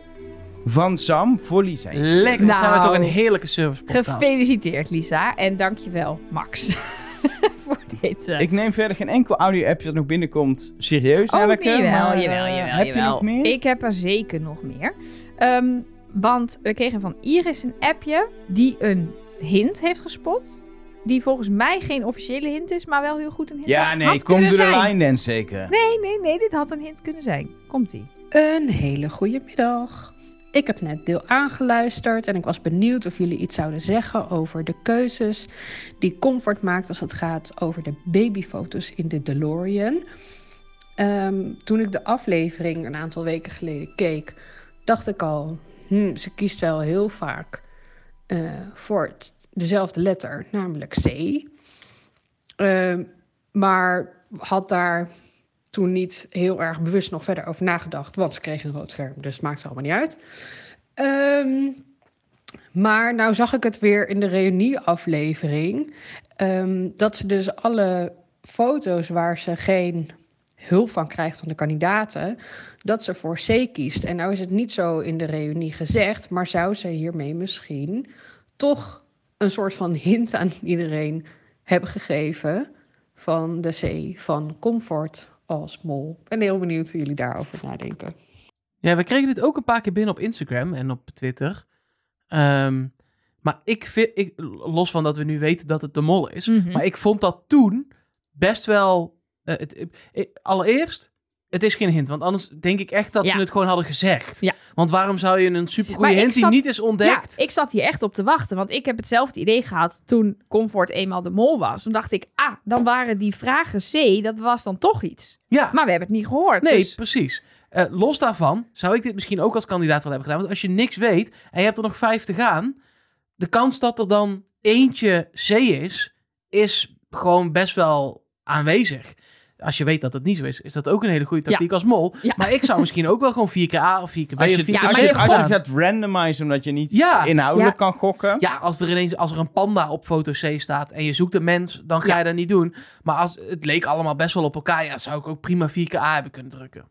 S1: van Sam voor Lisa.
S2: Lekker, dan zijn we
S3: Nou.
S2: toch een heerlijke service podcast.
S3: Gefeliciteerd, Lisa. En dankjewel, Max. voor dit. eh,
S1: Ik neem verder geen enkel audio-appje dat nog binnenkomt serieus,
S3: Oh,
S1: Nelleke.
S3: jawel,
S1: maar, eh,
S3: jawel, jawel,
S1: Heb je
S3: jawel.
S1: nog meer?
S3: Ik heb er zeker nog meer. Ehm, want we kregen van Iris een appje die een hint heeft gespot. Die volgens mij geen officiële hint is, maar wel heel goed een hint
S1: Ja,
S3: had-
S1: nee,
S3: had
S1: kom
S3: kunnen
S1: door de
S3: zijn.
S1: line dance zeker.
S3: Nee, nee, nee, dit had een hint kunnen zijn. Komt-ie.
S5: Een hele goede middag. Ik heb net deel aangeluisterd en ik was benieuwd of jullie iets zouden zeggen over de keuzes die Comfort maakt als het gaat over de babyfoto's in de DeLorean. Ehm, toen ik de aflevering een aantal weken geleden keek, dacht ik al, hmm, ze kiest wel heel vaak eh, voor het- dezelfde letter, namelijk C. Ehm, maar had daar toen niet heel erg bewust nog verder over nagedacht. Want ze kreeg een rood scherm, dus het maakt het allemaal niet uit. Ehm, maar nou zag ik het weer in de reunieaflevering. ehm, dat ze dus alle foto's waar ze geen hulp van krijgt van de kandidaten, dat ze voor C kiest. En nou is het niet zo in de reunie gezegd, maar zou ze hiermee misschien toch een soort van hint aan iedereen hebben gegeven van de C van Comfort als mol. Ik ben heel benieuwd hoe jullie daarover nadenken.
S2: Ja, we kregen dit ook een paar keer binnen op Instagram en op Twitter. Ehm, maar ik vind, ik, los van dat we nu weten dat het de mol is,
S3: Mhm.
S2: maar ik vond dat toen best wel. eh, het, eh, allereerst, het is geen hint, want anders denk ik echt dat
S3: Ja.
S2: ze het gewoon hadden gezegd.
S3: Ja.
S2: Want waarom zou je een supergoeie
S3: Maar ik
S2: hint die
S3: zat-
S2: niet is ontdekt?
S3: Ja, ik zat hier echt op te wachten. Want ik heb hetzelfde idee gehad toen Comfort eenmaal de mol was. Toen dacht ik, ah, dan waren die vragen C, dat was dan toch iets.
S2: ja.
S3: Maar we hebben het niet gehoord.
S2: Nee,
S3: dus-
S2: precies. Eh, los daarvan zou ik dit misschien ook als kandidaat wel hebben gedaan. Want als je niks weet en je hebt er nog vijf te gaan, de kans dat er dan eentje C is, is gewoon best wel aanwezig. Als je weet dat het niet zo is, is dat ook een hele goede tactiek als mol.
S3: Ja.
S2: Maar ik zou misschien ook wel gewoon vier keer A of vier keer B
S1: Als
S2: of
S1: je,
S2: vier keer
S3: Ja,
S1: als
S2: C
S3: maar
S1: je,
S3: je
S2: hebt
S1: als je
S2: gedaan.
S1: het gaat randomizen omdat je niet
S2: Ja.
S1: inhoudelijk kan gokken.
S2: Ja, als er ineens als er een panda op foto C staat en je zoekt een mens, dan ga je dat niet doen. Maar als het leek allemaal best wel op elkaar, ja, zou ik ook prima vier keer A hebben kunnen drukken.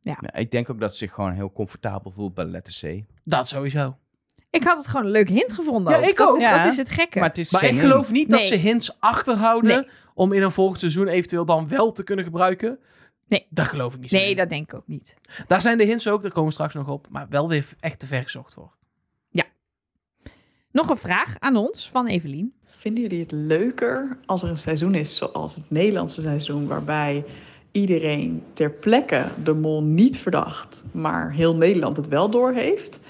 S1: Nee, Nou, ik denk ook dat ze zich gewoon heel comfortabel voelt bij de letter C.
S2: Dat sowieso.
S3: Ik had het gewoon een leuk hint gevonden.
S2: Ja, ik
S3: dat,
S2: ook.
S1: Ja.
S3: Dat is het gekke.
S1: Maar het is
S2: Maar
S1: geen
S2: ik geloof
S1: hint.
S2: niet dat
S3: Nee.
S2: ze hints achterhouden
S3: Nee.
S2: om in een volgend seizoen eventueel dan wel te kunnen gebruiken.
S3: Nee.
S2: Dat geloof ik niet. zo
S3: nee,
S2: in.
S3: dat denk ik ook niet.
S2: Daar zijn de hints ook, daar komen we straks nog op, maar wel weer echt te ver gezocht voor.
S3: Nog een vraag aan ons van Evelien.
S6: Vinden jullie het leuker als er een seizoen is zoals het Nederlandse seizoen, waarbij iedereen ter plekke de mol niet verdacht, maar heel Nederland het wel doorheeft?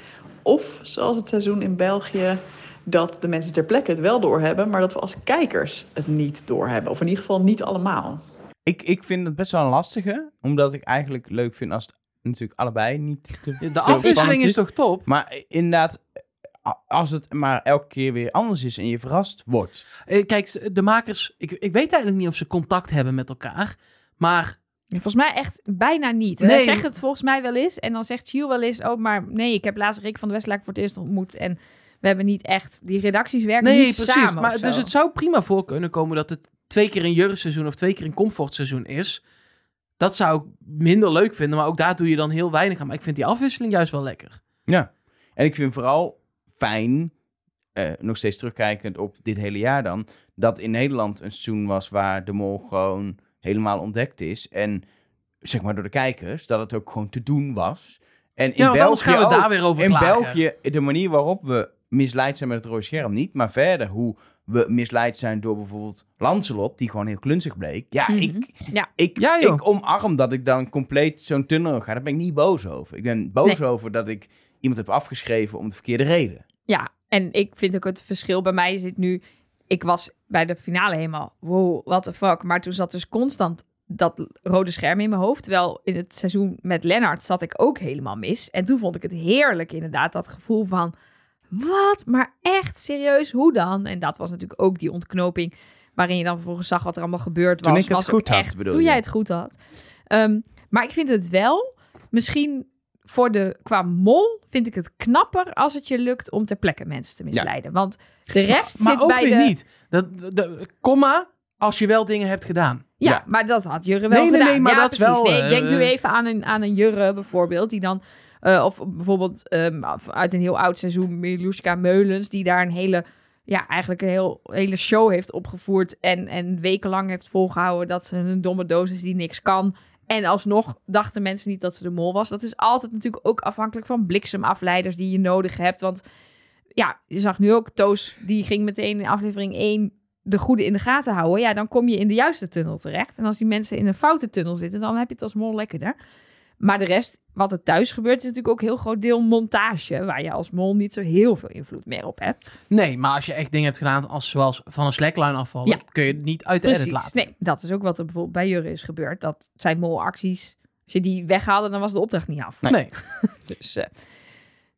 S6: Of zoals het seizoen in België, dat de mensen ter plekke het wel doorhebben, maar dat we als kijkers het niet doorhebben? Of in ieder geval niet allemaal.
S1: Ik, ik vind het best wel een lastige, omdat ik eigenlijk leuk vind als het natuurlijk allebei niet te
S2: De
S1: te
S2: afwisseling
S1: spannend
S2: is toch top?
S1: Maar inderdaad, a- als het maar elke keer weer anders is en je verrast wordt.
S2: Eh, Kijk, de makers, ik, ik weet eigenlijk niet of ze contact hebben met elkaar, maar
S3: Volgens mij echt bijna niet.
S2: Nee.
S3: Wij zeggen het volgens mij wel eens. En dan zegt Giel wel eens, oh, maar nee, ik heb laatst Rick van de Westlaak voor het eerst ontmoet. En we hebben niet echt, die redacties werken
S2: nee,
S3: niet
S2: precies.
S3: samen.
S2: maar
S3: of
S2: dus
S3: zo.
S2: het zou prima voor kunnen komen dat het twee keer een jurkseizoen of twee keer een comfortseizoen is. Dat zou ik minder leuk vinden, maar ook daar doe je dan heel weinig aan. Maar ik vind die afwisseling juist wel lekker.
S1: Ja. En ik vind vooral fijn eh, nog steeds terugkijkend op dit hele jaar dan, dat in Nederland een seizoen was waar de mol gewoon helemaal ontdekt is. En zeg maar door de kijkers, dat het ook gewoon te doen was. En in
S2: ja, want anders
S1: België
S2: gaan we
S1: ook.
S2: daar weer over
S1: In
S2: klagen.
S1: België, de manier waarop we misleid zijn met het rode scherm niet, maar verder hoe we misleid zijn door bijvoorbeeld Lancelot, die gewoon heel klunzig bleek. Ja,
S3: Mhm.
S1: ik,
S3: Ja.
S1: Ik,
S2: Ja, joh.
S1: ik omarm dat ik dan compleet zo'n tunnel ga. Daar ben ik niet boos over. Ik ben boos over dat ik iemand heb afgeschreven om de verkeerde reden.
S3: Ja, en ik vind ook het verschil bij mij zit nu. Ik was bij de finale helemaal, wow, what the fuck. Maar toen zat dus constant dat rode scherm in mijn hoofd. Terwijl in het seizoen met Lennart zat ik ook helemaal mis. En toen vond ik het heerlijk inderdaad, dat gevoel van... Wat? Maar echt serieus, hoe dan? En dat was natuurlijk ook die ontknoping... waarin je dan vervolgens zag wat er allemaal gebeurd was.
S1: Toen ik het
S3: was ook
S1: goed had,
S3: echt,
S1: bedoel
S3: Toen
S1: je?
S3: jij het goed had. Ehm, maar ik vind het wel, misschien voor de, qua mol vind ik het knapper als het je lukt om ter plekke mensen te misleiden. Want de rest
S2: maar
S3: zit
S2: ook
S3: bij
S2: weer
S3: de...
S2: niet. Dat, de, komma, als je wel dingen hebt gedaan.
S3: Ja,
S1: Ja.
S3: maar dat had Jurre wel
S2: Nee, nee,
S3: gedaan.
S2: nee, maar
S3: ja,
S2: dat is
S3: precies.
S2: wel,
S3: Nee, ik denk
S2: eh,
S3: nu even aan een, aan een Jurre bijvoorbeeld, die dan... eh, of bijvoorbeeld ehm, af- uit een heel oud seizoen, Miluska Meulens, die daar een hele... Ja, eigenlijk een heel, hele show heeft opgevoerd en, en wekenlang heeft volgehouden dat ze een domme doos is die niks kan. En alsnog dachten mensen niet dat ze de mol was. Dat is altijd natuurlijk ook afhankelijk van bliksemafleiders die je nodig hebt. Want ja, je zag nu ook Toos, die ging meteen in aflevering 1 de goede in de gaten houden. Ja, dan kom je in de juiste tunnel terecht. En als die mensen in een foute tunnel zitten, dan heb je het als mol lekkerder. Maar de rest, wat er thuis gebeurt, is natuurlijk ook een heel groot deel montage. Waar je als mol niet zo heel veel invloed meer op hebt.
S2: Nee, maar als je echt dingen hebt gedaan, als, zoals van een slackline afvallen,
S3: Ja.
S2: kun je het niet uit de edit laten.
S3: Nee, dat is ook wat er bijvoorbeeld bij Jurre is gebeurd. Dat zijn molacties. Als je die weghaalde, dan was de opdracht niet af.
S2: Nee.
S3: Dus, eh,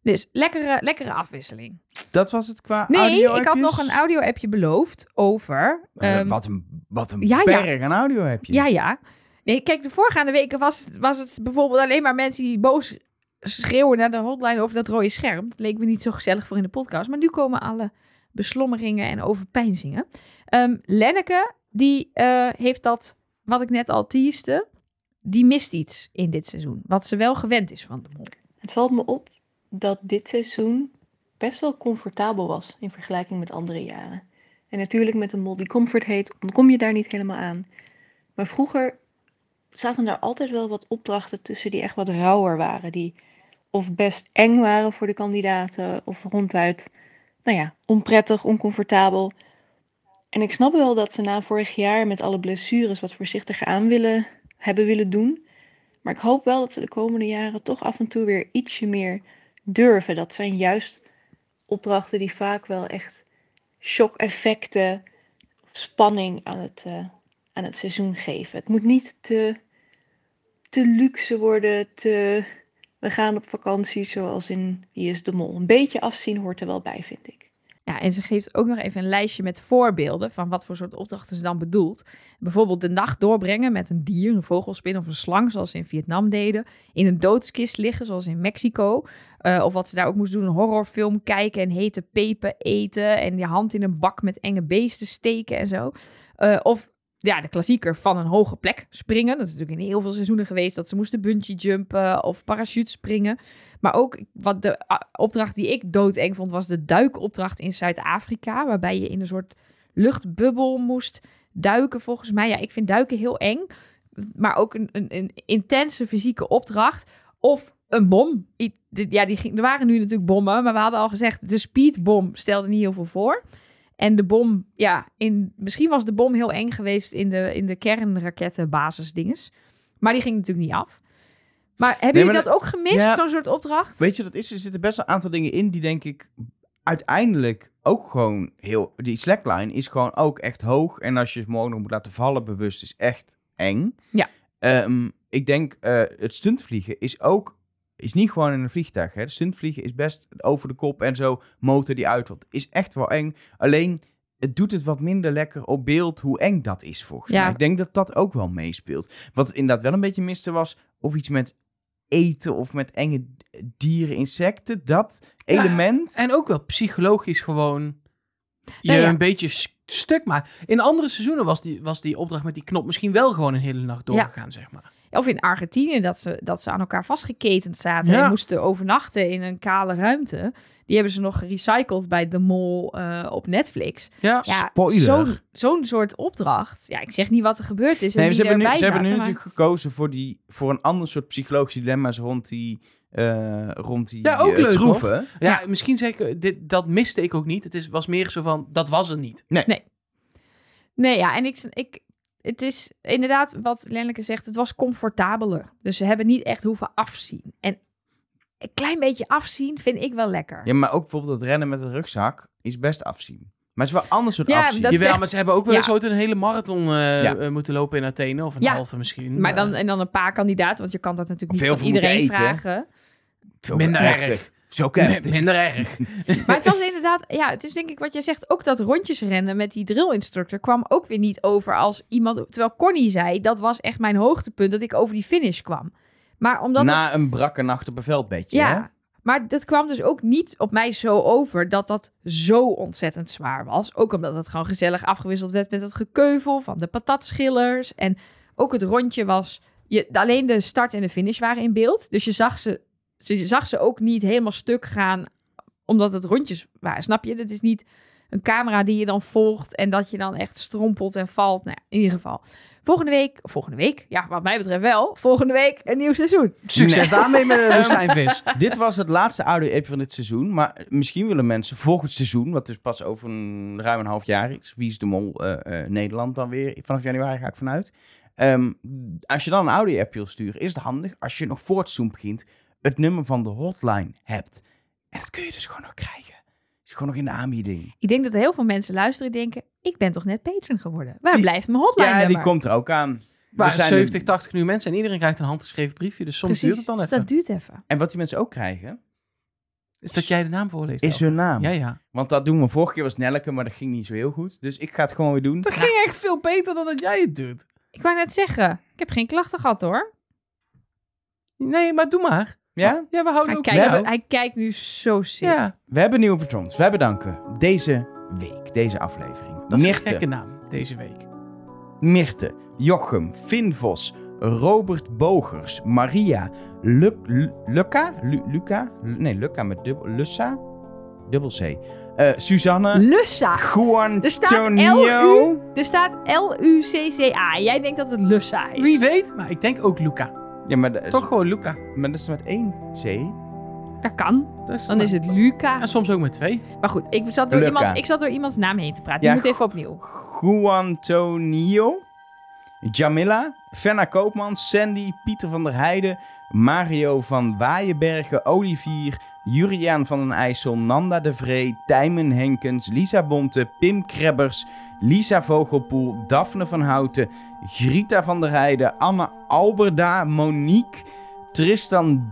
S3: dus lekkere, lekkere afwisseling.
S1: Dat was het qua
S3: Nee,
S1: audio Eh,
S3: ik had nog een audio-appje beloofd over... ehm,
S1: wat een, wat een
S3: ja, ja.
S1: berg aan audio heb je.
S3: Ja, ja. Nee, kijk, de voorgaande weken was, was het bijvoorbeeld alleen maar mensen die boos schreeuwen naar de hotline over dat rode scherm. Dat leek me niet zo gezellig voor in de podcast. Maar nu komen alle beslommeringen en overpeinzingen. Ehm, Lenneke, die eh, heeft dat, wat ik net al teaste, die mist iets in dit seizoen. Wat ze wel gewend is van de mol.
S7: Het valt me op dat dit seizoen best wel comfortabel was in vergelijking met andere jaren. En natuurlijk met een mol die comfort heet, ontkom je daar niet helemaal aan. Maar vroeger zaten daar altijd wel wat opdrachten tussen die echt wat rauwer waren. Die of best eng waren voor de kandidaten of ronduit, nou ja, onprettig, oncomfortabel. En ik snap wel dat ze na vorig jaar met alle blessures wat voorzichtiger aan willen, hebben willen doen. Maar ik hoop wel dat ze de komende jaren toch af en toe weer ietsje meer durven. Dat zijn juist opdrachten die vaak wel echt shock-effecten, spanning aan het, eh, aan het seizoen geven. Het moet niet te, te luxe worden, te... We gaan op vakantie zoals in Wie is de Mol. Een beetje afzien hoort er wel bij, vind ik.
S3: Ja, en ze geeft ook nog even een lijstje met voorbeelden van wat voor soort opdrachten ze dan bedoelt. Bijvoorbeeld de nacht doorbrengen met een dier, een vogelspin of een slang, zoals ze in Vietnam deden. In een doodskist liggen, zoals in Mexico. Eh, of wat ze daar ook moest doen, een horrorfilm kijken en hete pepen eten. En je hand in een bak met enge beesten steken en zo. Eh, of ja, de klassieker van een hoge plek springen. Dat is natuurlijk in heel veel seizoenen geweest dat ze moesten bungee jumpen of parachute springen. Maar ook wat de ah, opdracht die ik doodeng vond, was de duikopdracht in Zuid-Afrika. Waarbij je in een soort luchtbubbel moest duiken, volgens mij. Ja, ik vind duiken heel eng. Maar ook een, een, een intense fysieke opdracht. Of een bom. I- de- Ja, die ging, er waren nu natuurlijk bommen. Maar we hadden al gezegd, de speedbom stelde niet heel veel voor. En de bom, ja, in, misschien was de bom heel eng geweest in de, in de kernrakettenbasisdinges. Maar die ging natuurlijk niet af. Maar hebben
S1: Nee,
S3: jullie
S1: maar
S3: dat ook gemist,
S1: ja.
S3: zo'n soort opdracht?
S1: Weet je, dat is, er zitten best wel een aantal dingen in die denk ik uiteindelijk ook gewoon heel... Die slackline is gewoon ook echt hoog. En als je het morgen nog moet laten vallen bewust, is echt eng.
S3: Ja.
S1: Ehm, ik denk, eh, het stuntvliegen is ook... Is niet gewoon in een vliegtuig. Hè. Stuntvliegen is best over de kop en zo. Motor die uitvalt. Is echt wel eng. Alleen, het doet het wat minder lekker op beeld hoe eng dat is volgens
S3: Ja.
S1: mij. Ik denk dat dat ook wel meespeelt. Wat inderdaad wel een beetje miste was... Of iets met eten of met enge dieren, insecten. Dat
S2: Ja,
S1: element.
S2: En ook wel psychologisch gewoon je
S3: Nee, Nou ja.
S2: een beetje s- stuk maken. In andere seizoenen was die, was die opdracht met die knop misschien wel gewoon een hele nacht doorgegaan, zeg maar.
S3: Of in Argentinië, dat ze, dat ze aan elkaar vastgeketend zaten
S2: Ja.
S3: en moesten overnachten in een kale ruimte. Die hebben ze nog gerecycled bij The Mol eh, op Netflix.
S2: Ja.
S3: Ja,
S1: Spoiler.
S3: zo'n- zo'n soort opdracht. Ja, ik zeg niet wat er gebeurd is en
S1: Nee,
S3: wie
S1: ze hebben nu,
S3: erbij
S1: ze hebben nu
S3: zaten, maar-
S1: natuurlijk gekozen voor, die, voor een ander soort psychologische dilemma's rond die, eh, rond die
S2: Ja, ook
S1: eh,
S2: leuk,
S1: troeven.
S2: Ja, misschien zeker, dit, dat miste ik ook niet. Het is, was meer zo van, dat was het niet.
S3: Nee, ja, en ik, ik, het is inderdaad wat Lenneke zegt, het was comfortabeler. Dus ze hebben niet echt hoeven afzien. En een klein beetje afzien vind ik wel lekker.
S1: Ja, maar ook bijvoorbeeld dat rennen met een rugzak is best afzien. Maar het is wel een ander soort
S3: Ja,
S1: afzien.
S3: dat-
S2: Jawel,
S3: zegt-
S2: maar ze hebben ook wel
S3: Ja.
S2: eens ooit een hele marathon eh,
S1: Ja.
S2: eh, moeten lopen in Athene. Of een
S3: Ja.
S2: halve misschien. Eh,
S3: Maar dan, en dan een paar kandidaten, want je kan dat natuurlijk niet
S1: Veel
S3: van
S1: voor moeten
S3: iedereen
S1: eten.
S3: vragen.
S1: Zo
S2: minder
S1: heftig.
S2: erg.
S1: Zo
S2: Eh,
S1: heftig.
S2: minder erg.
S3: Maar het was inderdaad, ja, het is denk ik wat jij zegt, ook dat rondjesrennen met die drillinstructor kwam ook weer niet over als iemand, terwijl Connie zei, dat was echt mijn hoogtepunt, dat ik over die finish kwam. Maar omdat het-
S1: Na een brakke nacht op een veldbedje. hè?
S3: Ja, maar dat kwam dus ook niet op mij zo over dat dat zo ontzettend zwaar was. Ook omdat het gewoon gezellig afgewisseld werd met het gekeuvel van de patatschillers. En ook het rondje was... Je, alleen de start en de finish waren in beeld. Dus je zag ze, ze, je zag ze ook niet helemaal stuk gaan omdat het rondjes waren. Snap je? Dat is niet een camera die je dan volgt en dat je dan echt strompelt en valt. Nou, ja, in ieder geval. Volgende week, volgende week, ja, wat mij betreft wel. Volgende week een nieuw seizoen.
S2: Succes daarmee met eh, Woestijnvis.
S1: Dit was het laatste audio-app van dit seizoen. Maar misschien willen mensen volgend seizoen, wat dus pas over een ruim een half jaar is. Wie is de mol eh, eh, Nederland dan weer? Vanaf januari ga ik vanuit. Ehm, als je dan een audio-app wil sturen, is het handig als je nog voor het seizoen begint het nummer van de hotline hebt. En dat kun je dus gewoon nog krijgen. Is gewoon nog in de aanbieding.
S3: Ik denk dat heel veel mensen luisteren en denken... ik ben toch net patron geworden? Waar
S1: Die-
S3: blijft mijn hotline
S1: Ja, die komt er ook aan.
S2: Maar
S1: Er zijn-
S2: 70, 80 nu mensen en iedereen krijgt een handgeschreven briefje. Dus soms duurt het dan even.
S3: dat duurt even.
S1: En wat die mensen ook krijgen,
S2: Is dat jij de naam voorleest?
S1: is hun naam.
S2: Ja, ja.
S1: Want dat doen we vorige keer was Nelleke, maar dat ging niet zo heel goed. Dus ik ga het gewoon weer doen.
S2: Dat ging echt veel beter dan dat jij het doet.
S3: Ik wou net zeggen, ik heb geen klachten gehad hoor.
S2: Nee, maar doe maar.
S1: Ja?
S2: Ja, we houden
S3: Hij
S2: Oh, ook
S3: kijkt,
S1: wel.
S3: hij kijkt nu zo serieus.
S2: Ja,
S1: We hebben nieuwe patrons. Wij bedanken deze week, deze aflevering.
S2: dat is een
S1: Mirte,
S2: gekke naam deze week.
S1: Mirte, Jochem, Finn Vos, Robert Bogers, Maria, Lu Lu- Luca, Lu- Luca, Lu- nee, Luca met dubbel, Lussa, dubbel C, Eh, Suzanne,
S3: Lussa.
S1: Juan,
S3: Er staat
S1: Tonio,
S3: Er staat L-U-C-C-A. Jij denkt dat het Lussa is.
S2: Wie weet, maar ik denk ook Luca.
S1: Ja, maar dat is,
S2: Toch gewoon Luca.
S1: maar dat is met één C.
S3: Dat kan.
S2: Dat
S3: Dan is het Luca.
S2: En soms ook met twee.
S3: Maar goed, ik zat door,
S1: Luca.
S3: iemand, ik zat door iemands naam heen te praten.
S1: Ja,
S3: Je moet even opnieuw.
S1: Juan Tonio, Jamila, Fenna Koopman, Sandy, Pieter van der Heijden, Mario van Waaienbergen, Olivier, Juriaan van den IJssel, Nanda de Vree, Tijmen Henkens, Lisa Bonte, Pim Krebbers, Lisa Vogelpoel, Daphne van Houten, Grita van der Heijden, Anne Alberda, Monique, Tristan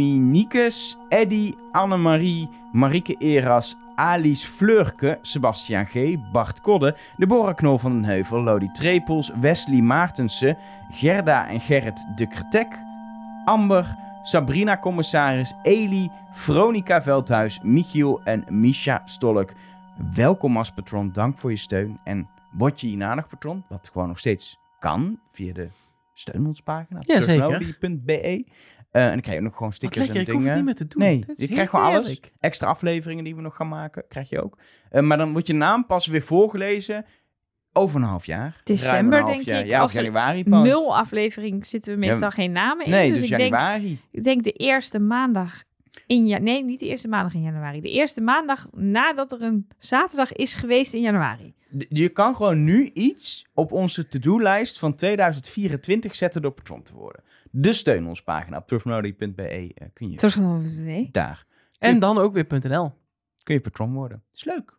S1: Dominicus, Eddy, Annemarie, Marieke Eras, Alice Fleurke, Sebastian G., Bart Kodde, Deborah Knol van den Heuvel, Lodi Trepels, Wesley Maartensen, Gerda en Gerrit de Kretek, Amber, Sabrina Commissaris, Eli, Veronica Veldhuis, Michiel en Misha Stolk. Welkom als patron, dank voor je steun. En word je hierna nog patron, wat gewoon nog steeds kan via de steun ons pagina,
S2: Ja, zeker.
S1: patreon.be. Eh, en dan krijg je ook nog gewoon
S2: Wat
S1: stickers
S2: lekker,
S1: en
S2: ik
S1: dingen.
S2: hoef het niet meer te doen.
S1: Nee,
S2: Dat is
S1: je
S2: heel
S1: krijgt gewoon alles.
S2: heerlijk.
S1: Extra afleveringen die we nog gaan maken, krijg je ook. Eh, maar dan wordt je naam pas weer voorgelezen over een half jaar.
S3: December,
S1: Ruim een half
S3: denk
S1: jaar.
S3: ik.
S1: Ja, of
S3: Als er
S1: januari pas.
S3: Nul aflevering zitten we meestal geen namen in.
S1: Nee,
S3: dus
S1: dus
S3: ik denk
S1: januari.
S3: Ik denk de eerste maandag in ja, nee, niet de eerste maandag in januari. De eerste maandag nadat er een zaterdag is geweest in januari.
S1: D- Je kan gewoon nu iets op onze to-do-lijst van 2024 zetten door patron te worden. Dus steun ons pagina op turfnody.be eh, kun je
S3: Toch van- nee.
S1: daar
S2: En dan ook weer .nl.
S1: kun je patron worden. Is leuk.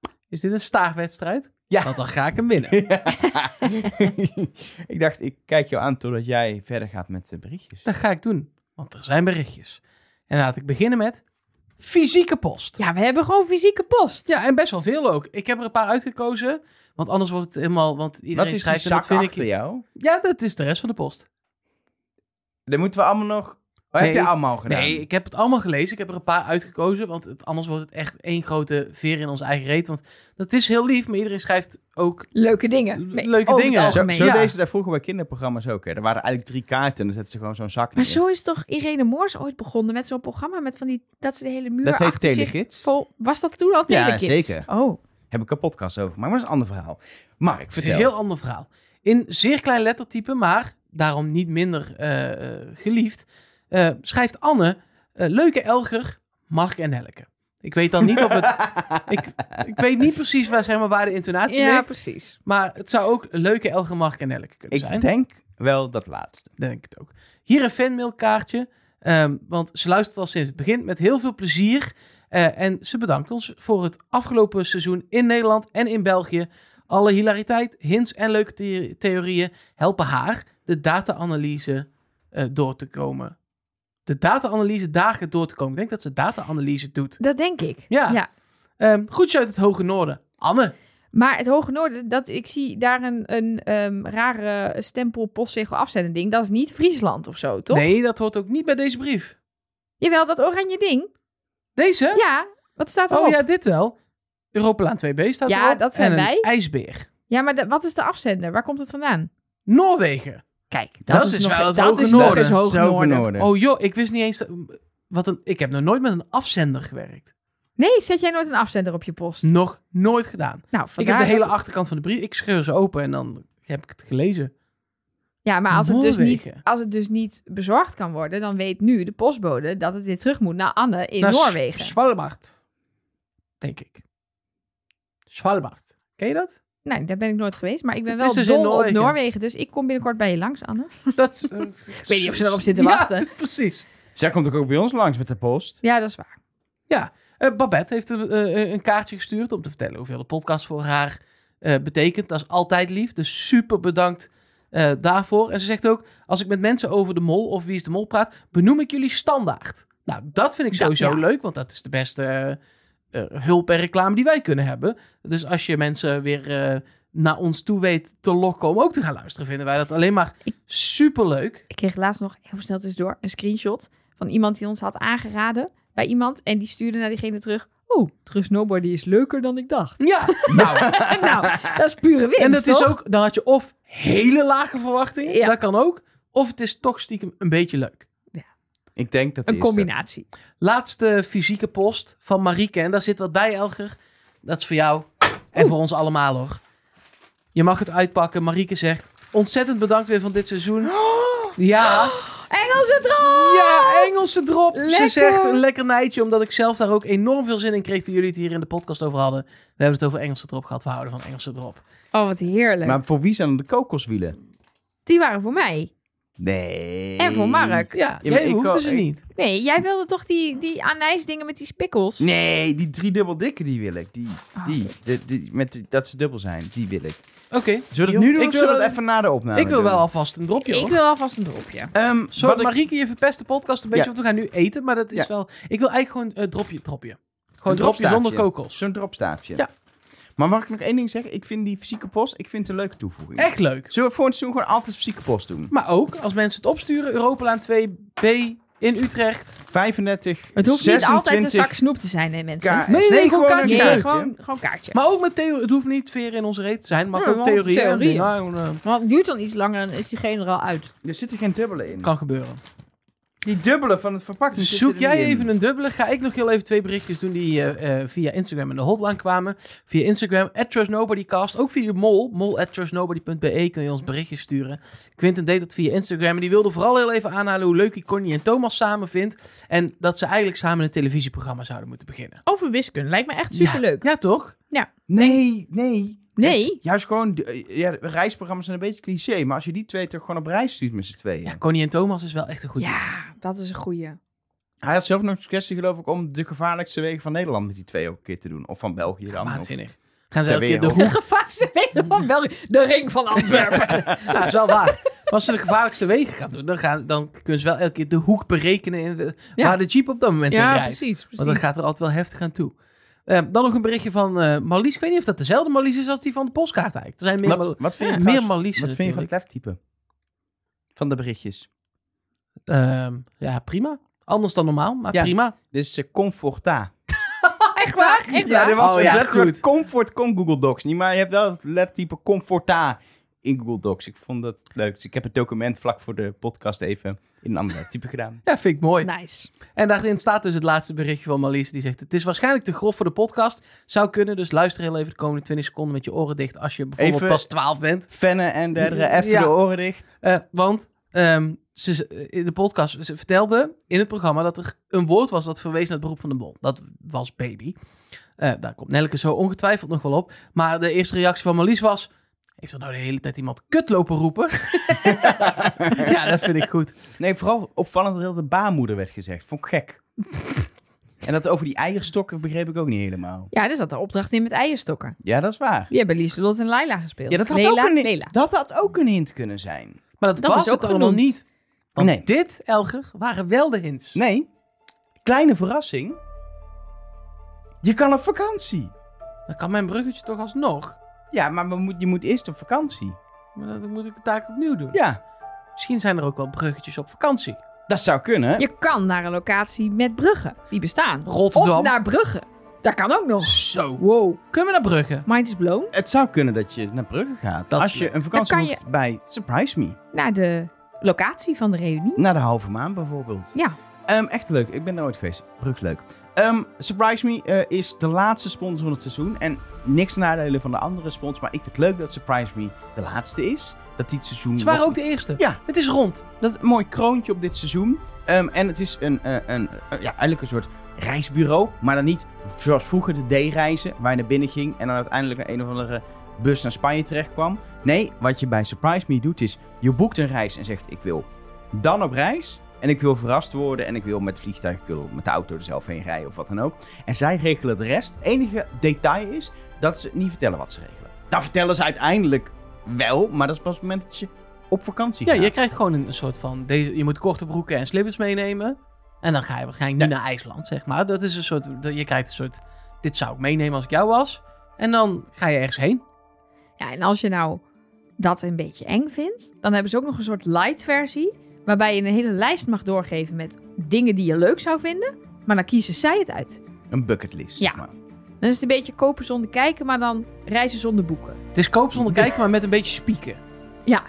S2: Is dit een staafwedstrijd?
S1: Ja.
S2: Want dan ga ik hem winnen.
S1: ik dacht, ik kijk jou aan totdat jij verder gaat met de berichtjes.
S2: Dat ga ik doen, want er zijn berichtjes. En laat ik beginnen met fysieke post.
S3: Ja, we hebben gewoon fysieke post.
S2: Ja, en best wel veel ook. Ik heb er een paar uitgekozen, want anders wordt het helemaal... Want iedereen
S1: Wat is die
S2: schrijft en
S1: zak
S2: dat vind
S1: achter
S2: ik...
S1: jou?
S2: Ja, dat is de rest van de post.
S1: Dan moeten we allemaal nog Oh, heb
S2: Nee.
S1: je allemaal gedaan?
S2: Nee, ik heb het allemaal gelezen. Ik heb er een paar uitgekozen. Want het, anders wordt het echt één grote veer in ons eigen reet. Want dat is heel lief, maar iedereen schrijft ook.
S3: Leuke dingen.
S2: Le- leuke
S3: over
S2: dingen.
S3: het
S1: Zo,
S3: algemeen.
S1: zo
S2: Ja.
S1: deze daar vroeger bij kinderprogramma's ook. Hè. Er waren eigenlijk drie kaarten en dan zetten ze gewoon zo'n zak
S3: Maar
S1: neer.
S3: zo is toch Irene Moors ooit begonnen met zo'n programma met van die dat ze de hele muur
S1: Dat heet
S3: achter zich
S1: Telegids.
S3: vol- Was dat toen al
S1: Ja,
S3: Telegids?
S1: zeker.
S3: Oh,
S1: Heb ik een podcast over gemaakt, maar dat is een ander verhaal. Mark,
S2: Het is een
S1: vertel.
S2: heel ander verhaal. In zeer klein lettertype, maar daarom niet minder eh, eh, geliefd, eh, schrijft Anne eh, Leuke Elger, Mark en Helke. Ik weet dan niet of het. ik, ik weet niet precies waar, zeg maar, waar de intonatie
S3: ja,
S2: ligt.
S3: precies.
S2: Maar het zou ook Leuke Elger, Mark en Helke kunnen
S1: ik
S2: zijn.
S1: denk wel dat laatste.
S2: denk ik het ook. Hier een fanmailkaartje, ehm, want ze luistert al sinds het begin met heel veel plezier. eh, en ze bedankt ons voor het afgelopen seizoen in Nederland en in België. Alle hilariteit, hints en leuke the- theorieën helpen haar de data-analyse eh, door te komen. De data-analyse dagen door te komen. Ik denk dat ze data-analyse doet.
S3: Dat denk ik.
S2: Ja. Ehm goed uit het Hoge Noorden. Anne.
S3: Maar het Hoge Noorden, dat, ik zie daar een, een ehm, rare stempel postzegel afzetten ding. Dat is niet Friesland of zo, toch?
S2: Nee, dat hoort ook niet bij deze brief.
S3: Jawel, dat oranje ding.
S2: Deze?
S3: Ja, wat staat erop?
S2: Oh
S3: ja.
S2: ja, dit wel. Europalaan 2B staat
S3: Ja,
S2: erop.
S3: dat zijn
S2: en een
S3: wij.
S2: ijsbeer.
S3: maar de- wat is de afzender? Waar komt het vandaan?
S2: Noorwegen.
S3: Kijk, dat,
S2: Dat is
S3: nog,
S2: wel het
S3: dat
S2: Hoge
S3: is nog
S2: Noorden.
S3: eens Hoge
S1: Zo
S3: Noorden.
S1: Noorden.
S2: Oh joh, ik wist niet eens... dat- Wat een, ik heb nog nooit met een afzender gewerkt.
S3: Nee, zet jij nooit een afzender op je post?
S2: Nog nooit gedaan.
S3: Nou,
S2: ik heb
S3: vandaar
S2: de hele
S3: dat-
S2: achterkant van de brief. Ik scheur ze open en dan heb ik het gelezen.
S3: Ja, maar als het, dus niet,
S2: Noorwegen.
S3: als het dus niet bezorgd kan worden, dan weet nu de postbode dat het weer terug moet naar Anne in
S2: Naar
S3: Noorwegen.
S2: S- Svalbard. Denk ik. Svalbard. Ken je dat?
S3: nee, Nou, daar ben ik nooit geweest, maar ik ben
S2: Het
S3: wel
S2: is dus in
S3: dol
S2: Noorwegen.
S3: op Noorwegen, dus ik kom binnenkort bij je langs, Anne.
S2: dat ik
S3: weet niet of ze erop zitten wachten.
S2: precies.
S1: Zij komt ook, ook bij ons langs met de post.
S3: Ja, dat is waar.
S2: Eh, Babette heeft een, eh, een kaartje gestuurd om te vertellen hoeveel de podcast voor haar eh, betekent. Dat is altijd lief, dus super bedankt eh, daarvoor. En ze zegt ook, als ik met mensen over de mol of wie is de mol praat, benoem ik jullie standaard. Nou, dat vind ik
S3: Ja,
S2: sowieso
S3: ja.
S2: leuk, want dat is de beste eh, eh, hulp en reclame die wij kunnen hebben. Dus als je mensen weer eh, naar ons toe weet te lokken om ook te gaan luisteren, vinden wij dat alleen maar
S3: Ik-
S2: super leuk.
S3: Ik kreeg laatst nog heel snel tussendoor een screenshot van iemand die ons had aangeraden bij iemand en die stuurde naar diegene terug. Oh, terug snowboarden is leuker dan ik dacht.
S2: Ja, nou,
S3: nou, dat is pure winst,
S2: En dat is
S3: toch?
S2: ook, dan had je of hele lage verwachtingen,
S3: Ja.
S2: dat kan ook, of het is toch stiekem een beetje leuk.
S1: Ik denk dat
S3: een
S1: is eh, dat.
S3: combinatie.
S2: Laatste fysieke post van Marieke, en daar zit wat bij, Elger. Dat is voor jou en voor ons allemaal hoor. Je mag het uitpakken. Marieke zegt: Ontzettend bedankt weer van dit seizoen.
S1: Oh!
S2: Ja,
S3: Engelse droom!
S2: ja Engelse drop.
S3: Lekker.
S2: Ze zegt een lekker nijtje, omdat ik zelf daar ook enorm veel zin in kreeg toen jullie het hier in de podcast over hadden. We hebben het over Engelse drop gehad. We houden van Engelse drop.
S3: Oh, wat heerlijk.
S1: Maar voor wie zijn de kokoswielen?
S3: Die waren voor mij.
S1: Nee.
S3: En voor Mark.
S2: Ja,
S1: Ja, maar
S2: jij
S1: ik
S2: hoefde
S1: wou-
S2: ze
S1: ik-
S2: niet.
S3: Nee, jij wilde toch die, die anijsdingen met die spikkels?
S1: Nee, die driedubbel dikke die wil ik. Die, die, De- die- met, die- dat ze dubbel zijn, die wil ik.
S2: Oké.
S1: Zullen we
S2: deal.
S1: dat nu doen
S2: Ik
S1: of
S2: wil
S1: zullen we
S2: dat-
S1: dat even na de opname
S2: ik wil
S1: doen?
S2: wel alvast een dropje,
S3: Ik
S2: hoor.
S3: wil alvast een dropje.
S1: Ehm,
S2: Sorry,
S1: wat ik-
S2: Marieke, je verpest de podcast een beetje,
S1: Ja.
S2: want we gaan nu eten. Maar dat is
S1: Ja.
S2: wel... Ik wil eigenlijk gewoon eh, dropje, dropje. Gewoon
S1: Een
S2: dropje
S1: dropstaafje.
S2: zonder kokos.
S1: Zo'n dropstaafje.
S2: Ja.
S1: Maar mag ik nog één ding zeggen? Ik vind die fysieke post, ik vind het een leuke toevoeging.
S2: Echt leuk.
S1: Zullen we voor het seizoen gewoon altijd fysieke post doen?
S2: Maar ook, als mensen het opsturen, Europalaan 2B in Utrecht.
S1: 35,
S3: Het hoeft
S1: 26,
S3: niet altijd een zak snoep te zijn, hè, mensen?
S1: kaars.
S2: Nee, nee, gewoon
S1: een
S2: kaartje.
S3: nee,
S1: kaartje.
S3: gewoon, gewoon kaartje.
S2: Maar ook met theorie. Het hoeft niet ver in onze reet te zijn, maar
S3: Ja,
S2: ook
S3: maar
S2: theorieën. en
S3: theorieën.
S2: dingen. Gewoon, eh,
S3: Want het duurt dan iets langer en is diegene er al uit.
S1: Er zitten geen dubbele in.
S2: kan gebeuren.
S1: Die dubbele van het verpakking zitten
S2: Zoek
S1: er
S2: jij
S1: niet in.
S2: even een dubbele? Ga ik nog heel even twee berichtjes doen die eh, eh, via Instagram en de hotline kwamen. Via Instagram, at trustnobodycast. Ook via mol, mol at trustnobody.be kun je ons berichtjes sturen. Quinten deed dat via Instagram en die wilde vooral heel even aanhalen hoe leuk hij Connie en Thomas samen vindt. En dat ze eigenlijk samen een televisieprogramma zouden moeten beginnen.
S3: Over wiskunde lijkt me echt superleuk.
S2: Ja, toch?
S1: Nee, nee.
S3: Nee,
S1: Juist gewoon, de- ja, reisprogramma's zijn een beetje cliché, maar als je die twee toch gewoon op reis stuurt met z'n tweeën.
S2: Ja, Connie en Thomas is wel echt een goed idee.
S3: ja, dat is een goeie.
S1: Hij had zelf nog een suggestie geloof ik om de gevaarlijkste wegen van Nederland met die twee ook een keer te doen. Of van België dan. of-
S2: Waanzinnig. Gaan ze
S1: Ter
S2: elke keer de
S1: wereld.
S2: hoek
S3: De gevaarste wegen van België. De ring van Antwerpen.
S2: Ja, dat is wel waar. Maar als ze de gevaarlijkste wegen gaan doen, dan, gaan, dan kunnen ze wel elke keer de hoek berekenen in de-
S3: Ja.
S2: waar de jeep op dat moment in
S3: ja,
S2: rijdt.
S3: precies. precies.
S2: Want dat gaat er altijd wel heftig aan toe. Eh, dan nog een berichtje van eh Marlies. Ik weet niet of dat dezelfde Marlies is als die van de postkaart eigenlijk. Er zijn meer,
S1: Wat,
S2: Marl-
S1: wat vind
S2: Ja.
S1: je
S2: meer
S1: trouwens-
S2: Marliezen
S1: Wat vind je van het
S2: natuurlijk.
S1: leftype? Van de berichtjes.
S2: Ehm, ja, prima. Anders dan normaal, maar
S1: Ja.
S2: prima.
S1: Dit is eh, Comforta.
S3: Echt waar? Echt
S1: Ja,
S3: waar?
S1: dit was
S2: Oh,
S1: het
S2: ja,
S1: letterwoord
S2: goed.
S1: comfort komt Google Docs niet, maar je hebt wel het lettertype comforta in Google Docs. Ik vond dat leuk. Dus ik heb het document vlak voor de podcast even in een ander type gedaan.
S2: Ja, vind ik mooi.
S1: Nou.
S3: Nice.
S2: En daarin staat dus het laatste berichtje van Marlies. Die zegt, het is waarschijnlijk te grof voor de podcast. Zou kunnen, dus luister heel even de komende 20 seconden met je oren dicht. Als je bijvoorbeeld
S1: Even-
S2: pas 12 bent.
S1: Fennen en derdere, even
S2: Ja.
S1: de oren dicht.
S2: Eh, want ehm, ze, ze- in de podcast ze vertelde in het programma dat er een woord was dat verwees naar het beroep van de mol. Dat was baby. Eh, daar komt Nelke zo ongetwijfeld nog wel op. Maar de eerste reactie van Marlies was... Heeft er nou de hele tijd iemand kut lopen roepen? ja, dat vind ik goed.
S1: Nee, vooral opvallend dat heel de baarmoeder werd gezegd. Vond ik gek. en dat over die eierstokken begreep ik ook niet helemaal.
S3: Ja, er zat een opdracht in met eierstokken.
S1: Ja, dat is waar.
S3: Die hebben Lieselot en Laila gespeeld.
S1: Ja, dat had,
S3: Lela,
S1: ook, een,
S3: Lela.
S1: dat had ook een hint kunnen zijn.
S2: Maar dat,
S3: Dat
S2: was
S3: is ook
S2: het allemaal
S3: genoemd.
S2: niet. Want
S1: Nee.
S2: dit, Elger, waren wel de hints.
S1: Nee, kleine verrassing. Je kan op vakantie.
S2: Dan kan mijn bruggetje toch alsnog.
S1: Ja, maar we moet, je moet eerst op vakantie.
S2: Maar dan moet ik het taak opnieuw doen.
S1: Ja,
S2: Misschien zijn er ook wel bruggetjes op vakantie.
S1: dat zou kunnen.
S3: Je kan naar een locatie met bruggen. Die bestaan.
S2: Rotterdam.
S3: Of naar bruggen. Dat kan ook nog.
S2: Zo.
S3: Wow.
S2: Kunnen we naar Brugge?
S3: Mind is blown.
S1: Het zou kunnen dat je naar Brugge gaat.
S2: Dat is
S1: als je
S2: leuk.
S1: een vakantie
S3: Dan kan
S1: boekt bij Surprise Me.
S3: Naar de locatie van de reunie.
S1: Naar de halve maan bijvoorbeeld.
S3: Ja.
S1: Ehm, echt leuk. Ik ben daar ooit geweest. Brugge is leuk. Ehm, Surprise Me eh, is de laatste sponsor van het seizoen. En niks nadelen van de andere sponsors. Maar ik vind het leuk dat Surprise Me de laatste is. Dat die het seizoen...
S2: Ze waren
S1: nog-
S2: ook de eerste.
S1: Ja.
S2: Het is rond.
S1: Dat is een mooi kroontje op dit seizoen. Ehm, en het is een, eh, een, eh, ja, eigenlijk een soort reisbureau. Maar dan niet zoals vroeger de D-reizen, waar je naar binnen ging en dan uiteindelijk naar een of andere bus naar Spanje terecht kwam. Nee, wat je bij Surprise Me doet is, je boekt een reis en zegt ik wil dan op reis. En ik wil verrast worden en ik wil met vliegtuig, ik wil met de auto er zelf heen rijden of wat dan ook. En zij regelen de rest. Het enige detail is dat ze niet vertellen wat ze regelen. Dat vertellen ze uiteindelijk wel, maar dat is pas op het moment dat je op vakantie
S2: Ja,
S1: gaat.
S2: je krijgt gewoon een soort van... Deze, je moet korte broeken en slippers meenemen. En dan ga je waarschijnlijk niet naar IJsland, zeg maar. Dat is een soort... dat- Je krijgt een soort... Dit zou ik meenemen als ik jou was. En dan ga je ergens heen.
S3: Ja, en als je nou dat een beetje eng vindt, dan hebben ze ook nog een soort light versie. Waarbij je een hele lijst mag doorgeven met dingen die je leuk zou vinden. Maar dan kiezen zij het uit.
S1: Een bucketlist.
S3: Ja.
S1: zeg maar.
S3: Dan is het een beetje kopen zonder kijken, maar dan reizen zonder boeken.
S2: Het is koop zonder kijken, maar met een beetje spieken.
S3: Ja.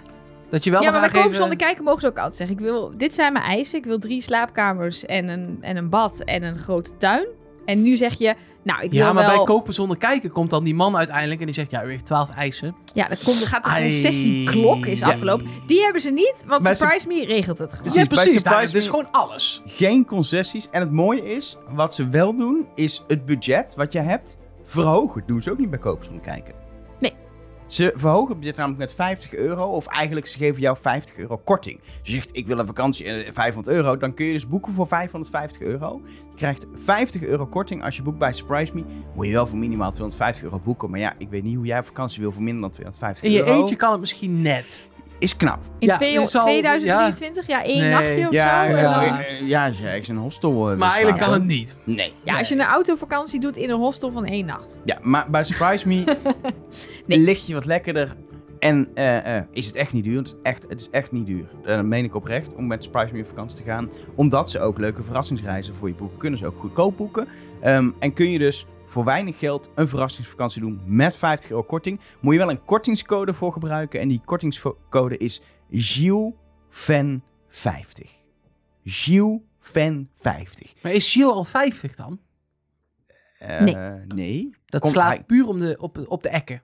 S2: Dat je wel
S3: ja,
S2: nog
S3: maar bij
S2: aangeven-
S3: kopen zonder kijken mogen ze ook altijd zeggen. Ik wil, dit zijn mijn eisen. Ik wil drie slaapkamers en een, en een bad en een grote tuin. En nu zeg je, nou, ik wil
S2: Ja, maar
S3: wel...
S2: bij kopen zonder kijken komt dan die man uiteindelijk en die zegt... Ja, u heeft twaalf eisen.
S3: Ja, dan komt, dan gaat de
S2: Ai.
S3: concessieklok is afgelopen. Die hebben ze niet, want
S1: Maar ze-
S3: Surprise Me regelt het gewoon.
S1: Precies,
S2: ja,
S1: bij
S2: precies.
S1: Surprise
S2: daar- Het is
S1: Me-
S2: gewoon alles.
S1: Geen concessies. En het mooie is, wat ze wel doen, is het budget wat je hebt verhogen. Dat doen ze ook niet bij kopen zonder kijken.
S3: Nee.
S1: Ze verhogen het budget namelijk met 50 euro. Of eigenlijk, ze geven jou 50 euro korting. Ze zegt, ik wil een vakantie en 500 euro. Dan kun je dus boeken voor 550 euro. Je krijgt 50 euro korting als je boekt bij Surprise Me. Moet je wel voor minimaal 250 euro boeken. Maar ja, ik weet niet hoe jij op vakantie wil voor minder dan 250
S2: In je
S1: euro.
S2: eentje kan het misschien net.
S1: Is knap.
S3: In
S2: Ja,
S3: twee-
S2: dit is al-
S3: 2023? Ja, één
S2: Nee.
S3: nachtje of zo? eh,
S2: ja.
S3: dan-
S1: ja, als je ergens in een hostel eh, wil
S2: Maar eigenlijk
S1: slapen.
S2: kan het niet.
S1: Nee.
S3: Ja, als je een autovakantie doet in een hostel van één nacht.
S1: Ja, maar bij Surprise Me
S3: Nee.
S1: ligt je wat lekkerder. En eh, eh, is het echt niet duur? Het is echt, het is echt niet duur. Eh, Dat meen ik oprecht om met Surprise Me op vakantie te gaan. Omdat ze ook leuke verrassingsreizen voor je boeken. Kunnen ze ook goedkoop boeken. Ehm, en kun je dus voor weinig geld een verrassingsvakantie doen met 50 euro korting. Moet je wel een kortingscode voor gebruiken. En die kortingscode is GILFAN50. GILFAN50.
S2: Maar is Gilles al 50 dan?
S1: Eh,
S3: Nee.
S1: Nee.
S2: Dat
S1: Komt
S2: slaat
S1: hij-
S2: puur om de, op, op de ekken.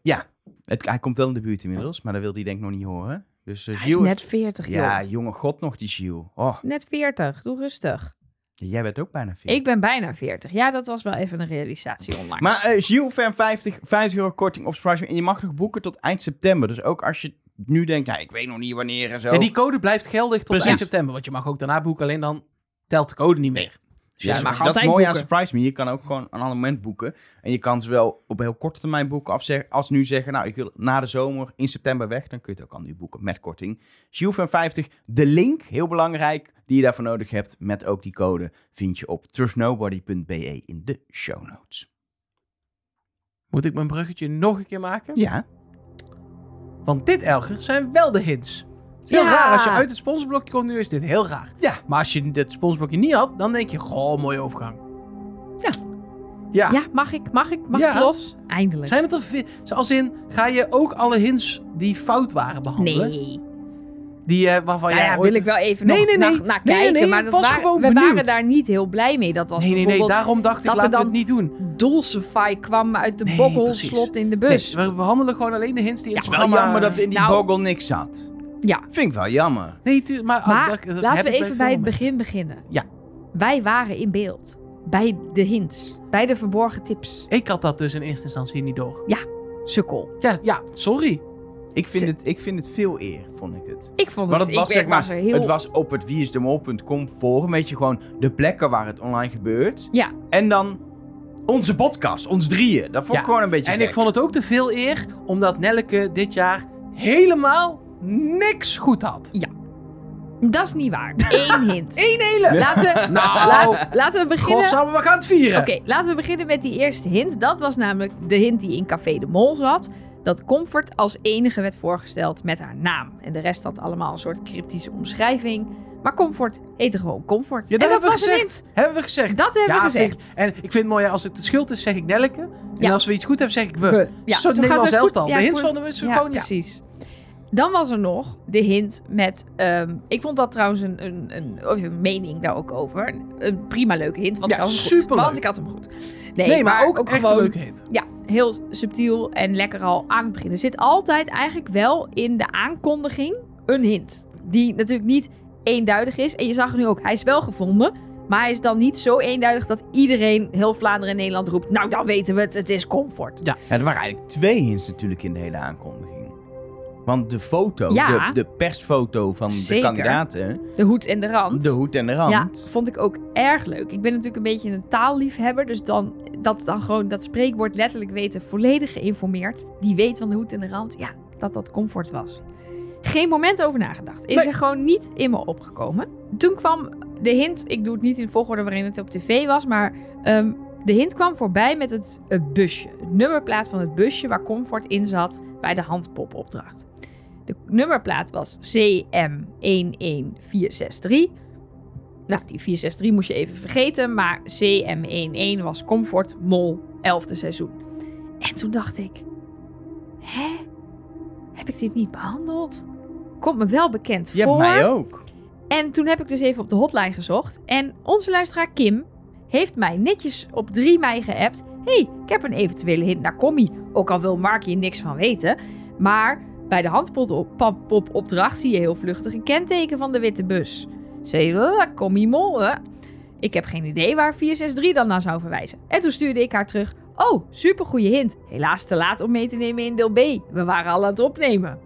S1: Het, hij komt wel in de buurt inmiddels, maar dat wil hij denk ik nog niet horen. Dus eh,
S3: Hij is
S1: Gilles
S3: net 40,
S1: Ja,
S3: joh.
S1: jonge god nog die Gilles. Oh,
S3: Net 40, doe rustig.
S1: jij bent ook bijna 40.
S3: Ik ben bijna 40. Ja, dat was wel even een realisatie onlangs.
S1: Maar eh Gilles fan 50, 50 euro korting op Surprise Me. En je mag nog boeken tot eind september. Dus ook als je nu denkt, ja, ik weet nog niet wanneer en zo.
S2: Ja, die code blijft geldig tot
S1: Precies.
S2: eind september. Want je mag ook daarna boeken, alleen dan telt de code niet meer. Dus
S1: Ja,
S2: ja,
S3: mag
S1: dat is
S3: altijd
S1: mooi aan
S3: boeken.
S1: Surprise Me. Je kan ook gewoon een ander moment boeken. En je kan zowel op heel korte termijn boeken als, zeg- als nu zeggen, nou, ik wil na de zomer in september weg. Dan kun je het ook al nu boeken met korting. Gilles fan 50, de link, heel belangrijk, die je daarvoor nodig hebt. Met ook die code vind je op trustnobody.be E in de show notes.
S2: moet ik mijn bruggetje nog een keer maken.
S1: Ja.
S2: Want dit, Elger, zijn wel de hints. is heel
S3: Ja.
S2: raar. Als je uit het sponsorblokje komt nu, is dit heel raar.
S1: Ja.
S2: Maar als je het sponsorblokje niet had, dan denk je, goh, mooie overgang. Ja. Ja.
S3: Ja, mag ik? Mag ik? Mag
S2: Ja.
S3: ik los? Eindelijk.
S2: Zijn het er veel? Als in, ga je ook alle hints die fout waren behandelen?
S3: Nee.
S2: Die, eh, waarvan
S3: Nou
S2: jij
S3: ja,
S2: ooit-
S3: wil ik wel even
S2: Nee,
S3: nog
S2: nee,
S3: naar,
S2: nee.
S3: naar
S2: Nee, nee,
S3: kijken.
S2: nee,
S3: maar
S2: ik
S3: dat
S2: was
S3: waren,
S2: gewoon
S3: we waren
S2: benieuwd.
S3: daar niet heel blij mee. Dat was
S2: Nee, nee, nee.
S3: bijvoorbeeld
S2: Daarom dacht ik,
S3: dat er
S2: laten we het
S3: dan-
S2: niet doen.
S3: Dolcefy kwam uit de
S2: Nee,
S3: bokkelslot in de bus.
S2: Nee, we behandelen gewoon alleen de hints die in
S1: Het
S2: het
S1: is wel
S2: programma-
S1: jammer dat in die
S3: Nou.
S1: bogel niks zat.
S3: Ja.
S1: Vind ik wel jammer.
S2: Nee, tu- maar... oh,
S3: Maar
S2: dat- dat
S3: laten
S2: heb
S3: we
S2: ik
S3: even bij het
S2: filmen.
S3: begin beginnen.
S2: Ja.
S3: Wij waren in beeld. Bij de hints. Bij de verborgen tips.
S2: Ik had dat dus in eerste instantie niet door.
S3: Sukkel.
S2: Ja, ja sorry.
S1: Ik vind,
S3: Ze-
S1: het, ik vind het veel eer, vond ik het.
S3: Ik vond
S1: Maar
S3: het...
S1: dat was
S3: ik,
S1: zeg
S3: ik
S1: maar,
S3: was er heel...
S1: het was op het wieisdemol.com volgen, weet je, gewoon de plekken waar het online gebeurt.
S3: Ja.
S1: En dan onze podcast, ons drieën. Dat vond
S2: Ja.
S1: ik gewoon een beetje
S2: En ik
S1: gek.
S2: vond het ook te veel eer, omdat Nelleke dit jaar helemaal niks goed had.
S3: Dat is niet waar. Eén hint.
S2: Eén hele.
S3: Laten we,
S2: Nou.
S3: laat- laten we beginnen...
S2: Godsamme, we gaan het vieren.
S3: Oké, laten we beginnen met die eerste hint. Dat was namelijk de hint die in Café de Mol zat. Dat Comfort als enige werd voorgesteld met haar naam. En de rest had allemaal een soort cryptische omschrijving. Maar Comfort heette gewoon Comfort.
S2: Ja, dat
S3: en dat
S2: hebben we
S3: was een
S2: gezegd.
S3: hint.
S2: Hebben we gezegd.
S3: Dat hebben we
S2: Ja, vind
S3: gezegd.
S2: ik- en ik vind het mooi, als het de schuld is, zeg ik Nelleke. En
S3: Ja.
S2: als we iets goed hebben, zeg ik we.
S3: We. Ja,
S2: zo
S3: gaat
S2: Nederlands
S3: het goed.
S2: elftal.
S3: Ja,
S2: De hints
S3: voor-
S2: vonden we zo
S3: ja,
S2: gewoon, ja.
S3: precies. Dan was er nog de hint met... ehm, ik vond dat trouwens een, een, een, of een mening daar ook over. Een, een prima leuke hint, want,
S2: Ja,
S3: ik had hem goed.
S2: superleuk.
S3: want ik had hem goed. Nee,
S2: Nee, maar, ook, echt
S3: gewoon
S2: een leuke hint.
S3: Ja, heel subtiel en lekker al aan het begin. Er zit altijd eigenlijk wel in de aankondiging een hint. Die natuurlijk niet eenduidig is. En je zag het nu ook, hij is wel gevonden. Maar hij is dan niet zo eenduidig dat iedereen heel Vlaanderen en Nederland roept... Nou, dan weten we het, het is comfort.
S1: Ja, er waren eigenlijk twee hints natuurlijk in de hele aankondiging. Want de foto,
S3: Ja.
S1: de, de persfoto van
S3: Zeker.
S1: de kandidaten,
S3: De hoed en de rand.
S1: de hoed en de
S3: Ja,
S1: rand.
S3: vond ik ook erg leuk. Ik ben natuurlijk een beetje een taalliefhebber. Dus dan dat dan gewoon dat spreekwoord letterlijk weten, volledig geïnformeerd. Die weet van de hoed en de rand, ja, dat dat comfort was. Geen moment over nagedacht. Is
S2: Nee.
S3: er gewoon niet in me opgekomen. Toen kwam de hint, ik doe het niet in de volgorde waarin het op tv was, maar ehm, de hint kwam voorbij met het, eh, busje. Het nummerplaat van het busje waar comfort in zat bij de handpopopdracht. De nummerplaat was CM11463. Nou, die 463 moest je even vergeten, maar CM11 was Comfort Mol 11e seizoen. En toen dacht ik, hè? Heb ik dit niet behandeld? Komt me wel bekend
S1: Je hebt
S3: voor.
S1: mij ook.
S3: En toen heb ik dus even op de hotline gezocht. En onze luisteraar Kim heeft mij netjes op 3 mei geappt. hey, ik heb een eventuele hint naar Commie. Ook al wil Mark hier niks van weten. Maar bij de handpopopdracht zie je heel vluchtig een kenteken van de witte bus. Ze Commie mol, hè? Ik heb geen idee waar 463 dan naar zou verwijzen. En toen stuurde ik haar terug. Oh, supergoeie hint. Helaas te laat om mee te nemen in deel B. We waren al aan het opnemen.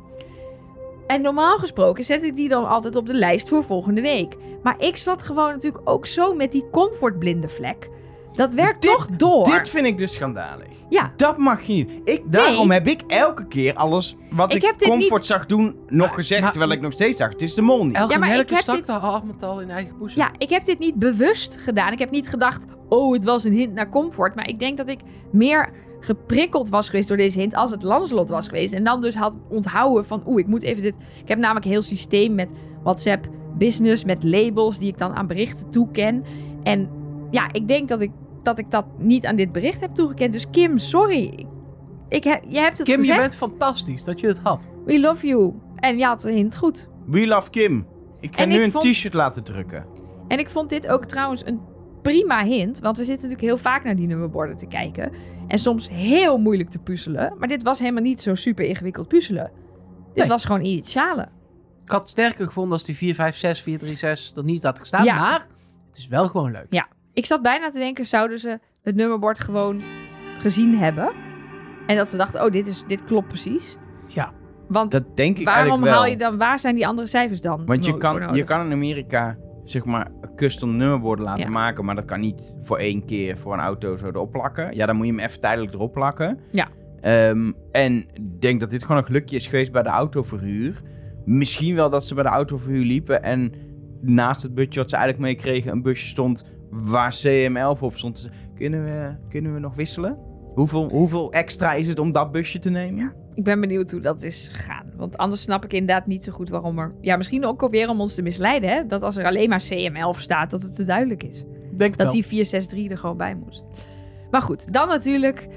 S3: En normaal gesproken zet ik die dan altijd op de lijst voor volgende week. Maar ik zat gewoon natuurlijk ook zo met die comfortblinde vlek. Dat werkt
S1: Dit-
S3: toch door.
S1: Dit vind ik dus schandalig.
S3: Ja.
S1: Dat mag je niet. Ik, daarom
S3: Nee.
S1: heb ik elke keer alles wat
S3: Ik
S1: ik,
S3: heb dit
S1: comfort
S3: niet- Ah,
S1: zag doen nog gezegd.
S2: maar-
S1: terwijl ik nog steeds dacht, het is de mol niet.
S2: Elke
S3: Ja, maar ik
S2: Nelleke
S3: heb
S2: stak
S3: dit-
S2: de hand al in eigen poes.
S3: Ja, ik heb dit niet bewust gedaan. Ik heb niet gedacht, oh, het was een hint naar comfort. Maar ik denk dat ik meer geprikkeld was geweest door deze hint als het Lancelot was geweest. En dan dus had onthouden van, oeh, ik moet even dit... Ik heb namelijk een heel systeem met WhatsApp business, met labels die ik dan aan berichten toeken. En ja, ik denk dat ik dat, ik dat niet aan dit bericht heb toegekend. Dus Kim, sorry. Ik- Ik heb, je hebt het
S2: Kim, je
S3: gezegd.
S2: bent fantastisch dat je het had.
S3: We love you. En je had de hint goed.
S1: We love Kim. Ik ga
S3: En
S1: nu
S3: ik
S1: een
S3: vond-
S1: t-shirt laten drukken.
S3: En ik vond dit ook trouwens een prima hint. Want we zitten natuurlijk heel vaak naar die nummerborden te kijken. En soms heel moeilijk te puzzelen. Maar dit was helemaal niet zo super ingewikkeld puzzelen. Dit
S2: Nee.
S3: was gewoon initialen.
S2: Ik had het sterker gevonden als die 456, 436 er niet had gestaan.
S3: Ja.
S2: Maar het is wel gewoon leuk.
S3: Ik zat bijna te denken, zouden ze het nummerbord gewoon gezien hebben? En dat ze dachten, oh, dit, is, dit klopt precies.
S2: Ja.
S3: Want
S1: Dat denk ik
S3: waarom
S1: eigenlijk wel.
S3: haal je dan, waar zijn die andere cijfers dan?
S1: Want je
S3: no- voor
S1: kan,
S3: nodig?
S1: je kan in Amerika zeg maar custom nummerborden laten
S3: Ja.
S1: maken, maar dat kan niet voor één keer voor een auto zo erop plakken. Ja, dan moet je hem even tijdelijk erop plakken.
S3: Ja.
S1: Ehm, en ik denk dat dit gewoon een gelukje is geweest bij de autoverhuur. Misschien wel dat ze bij de autoverhuur liepen en naast het busje wat ze eigenlijk meekregen een busje stond waar CM11 op stond. Dus Kunnen we, kunnen we nog wisselen? Hoeveel, hoeveel extra is het om dat busje te nemen?
S3: Ik ben benieuwd hoe dat is gegaan. Want anders snap ik inderdaad niet zo goed waarom er... Ja, misschien ook alweer om ons te misleiden, hè? Dat als er alleen maar CM11 staat, dat het te duidelijk is.
S2: Denk
S3: Dat die 463 er gewoon bij moest. Maar goed, dan natuurlijk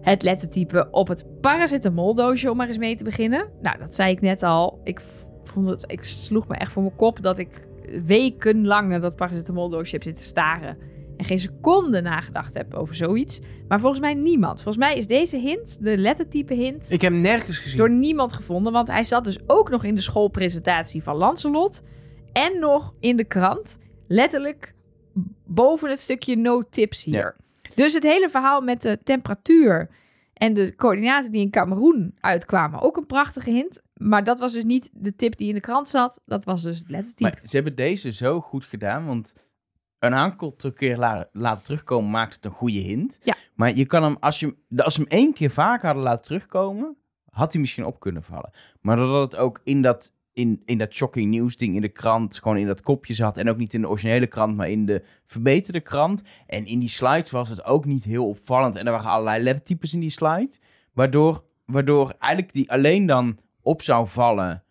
S3: het lettertype op het paracetamoldoosje om maar eens mee te beginnen. Nou, dat zei ik net al. Ik, v- vond het, ik sloeg me echt voor mijn kop dat ik wekenlang naar dat paracetamoldoosje heb zitten staren. En geen seconde nagedacht heb over zoiets. Maar volgens mij niemand. Volgens mij is deze hint, de lettertype hint,
S2: Ik heb hem nergens gezien.
S3: door niemand gevonden. Want hij zat dus ook nog in de schoolpresentatie van Lancelot. En nog in de krant. Letterlijk boven het stukje no tips hier. Dus het hele verhaal met de temperatuur en de coördinaten die in Cameroen uitkwamen. Ook een prachtige hint. Maar dat was dus niet de tip die in de krant zat. Dat was dus het lettertype.
S1: Maar ze hebben deze zo goed gedaan, want een aantal keer la- laten terugkomen maakt het een goede hint.
S3: Ja.
S1: Maar je kan hem, als je, hem- als ze hem één keer vaker hadden laten terugkomen, had hij misschien op kunnen vallen. Maar doordat het ook in dat, in, in dat shocking nieuws ding in de krant, gewoon in dat kopje zat. En ook niet in de originele krant, maar in de verbeterde krant. En in die slides was het ook niet heel opvallend. En er waren allerlei lettertypes in die slide. Waardoor, waardoor eigenlijk die alleen dan op zou vallen,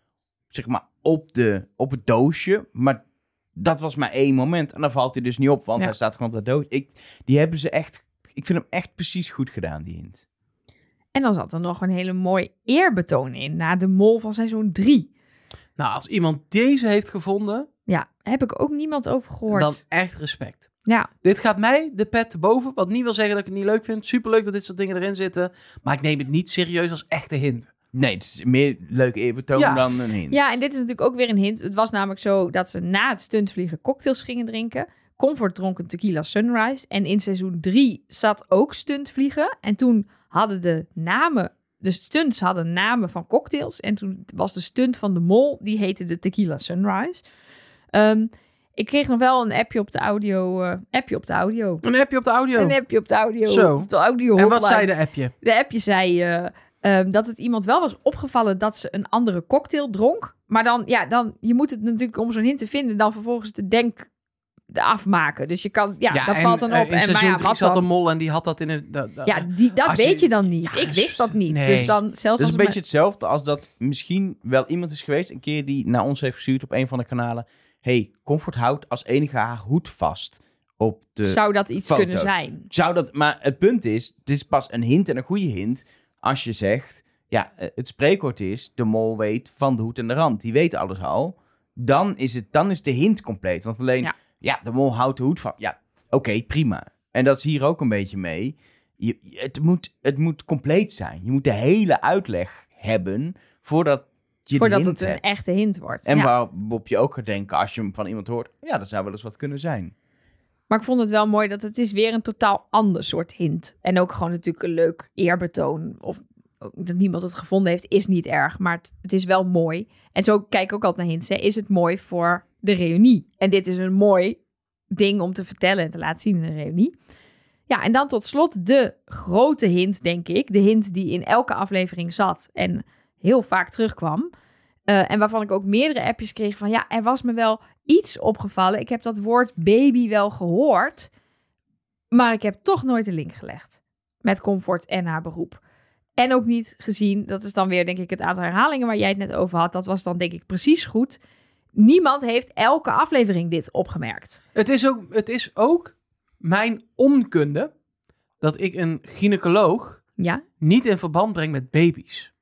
S1: zeg maar, op, de, op het doosje. Maar dat was maar één moment. En dan valt hij dus niet op, want
S3: Ja.
S1: hij staat gewoon op dat doosje. Ik, die hebben ze echt... Ik vind hem echt precies goed gedaan, die hint.
S3: En dan zat er nog een hele mooi eerbetoon in. Na de mol van seizoen 3.
S2: Nou, als iemand deze heeft gevonden,
S3: Ja, heb ik ook niemand over gehoord.
S2: dan echt respect.
S3: Ja.
S2: Dit gaat mij de pet te boven. Wat niet wil zeggen dat ik het niet leuk vind. Superleuk dat dit soort dingen erin zitten. Maar ik neem het niet serieus als echte hint.
S1: Nee, het is meer leuk eerbetoon
S2: Ja.
S1: dan een hint.
S3: Ja, en dit is natuurlijk ook weer een hint. Het was namelijk zo dat ze na het stuntvliegen cocktails gingen drinken. Comfort dronk een tequila sunrise. En in seizoen 3 zat ook stuntvliegen. En toen hadden de namen, de stunts hadden namen van cocktails. En toen was de stunt van de mol, die heette de tequila sunrise. Ehm, ik kreeg nog wel een appje op de audio. eh, appje op de audio.
S2: Een appje op de audio.
S3: Een appje op de audio.
S2: Zo.
S3: Op de audio
S2: En wat
S3: hotline.
S2: zei de appje?
S3: De appje zei eh, ehm, dat het iemand wel was opgevallen dat ze een andere cocktail dronk. Maar dan, ja, dan, je moet het natuurlijk om zo'n hint te vinden, dan vervolgens de denk afmaken. Dus je kan, ja, dat
S2: en,
S3: valt dan op.
S2: eh,
S3: en
S2: In
S3: maar
S2: seizoen
S3: ja,
S2: 3
S3: wat
S2: zat
S3: dan?
S2: een mol en die had dat in een... da- da-
S3: Ja, die, dat
S2: Als je-
S3: weet je dan niet.
S2: Ja,
S3: ik
S2: dus-
S3: wist dat niet.
S2: nee.
S3: Dus dan
S1: Dat
S3: zelfs
S1: is
S3: als
S1: een
S3: het
S1: beetje hetzelfde als dat misschien wel iemand is geweest, een keer die naar ons heeft gestuurd op een van de kanalen. hey, Comfort houdt als enige haar hoed vast op de...
S3: maar- zou dat iets
S1: foto's.
S3: kunnen zijn.
S1: Zou dat... Maar het punt is, het is pas een hint en een goede hint als je zegt... Ja, eh, het spreekwoord is, de mol weet van de hoed en de rand. Die weet alles al. Dan is, het, dan is de hint compleet. Want alleen,
S3: Ja.
S1: ja, de mol houdt de hoed van. Ja, oké, prima. En dat is hier ook een beetje mee. Je, je- het, moet, het moet compleet zijn. Je moet de hele uitleg hebben voordat je de
S3: Voordat
S1: hint
S3: het een
S1: hebt.
S3: echte hint wordt.
S1: En
S3: Ja.
S1: waarop je ook gaat denken als je hem van iemand hoort... Ja, dat zou wel eens wat kunnen zijn.
S3: Maar ik vond het wel mooi dat het is weer een totaal ander soort hint. En ook gewoon natuurlijk een leuk eerbetoon. Of ook dat niemand het gevonden heeft, is niet erg. Maar het, het is wel mooi. En zo kijk ik ook altijd naar hints. Hè. Is het mooi voor de reunie? En dit is een mooi ding om te vertellen en te laten zien in een reunie. Ja, en dan tot slot de grote hint, denk ik. De hint die in elke aflevering zat en heel vaak terugkwam. Eh, en waarvan ik ook meerdere appjes kreeg van... ja, er was me wel iets opgevallen. Ik heb dat woord baby wel gehoord, maar ik heb toch nooit de link gelegd met comfort en haar beroep. En ook niet gezien, dat is dan weer denk ik het aantal herhalingen waar jij het net over had. Dat was dan denk ik precies goed. Niemand heeft elke aflevering dit opgemerkt.
S2: Het is, ook, het is ook mijn onkunde dat ik een gynaecoloog
S3: Ja,
S2: niet in verband breng met baby's.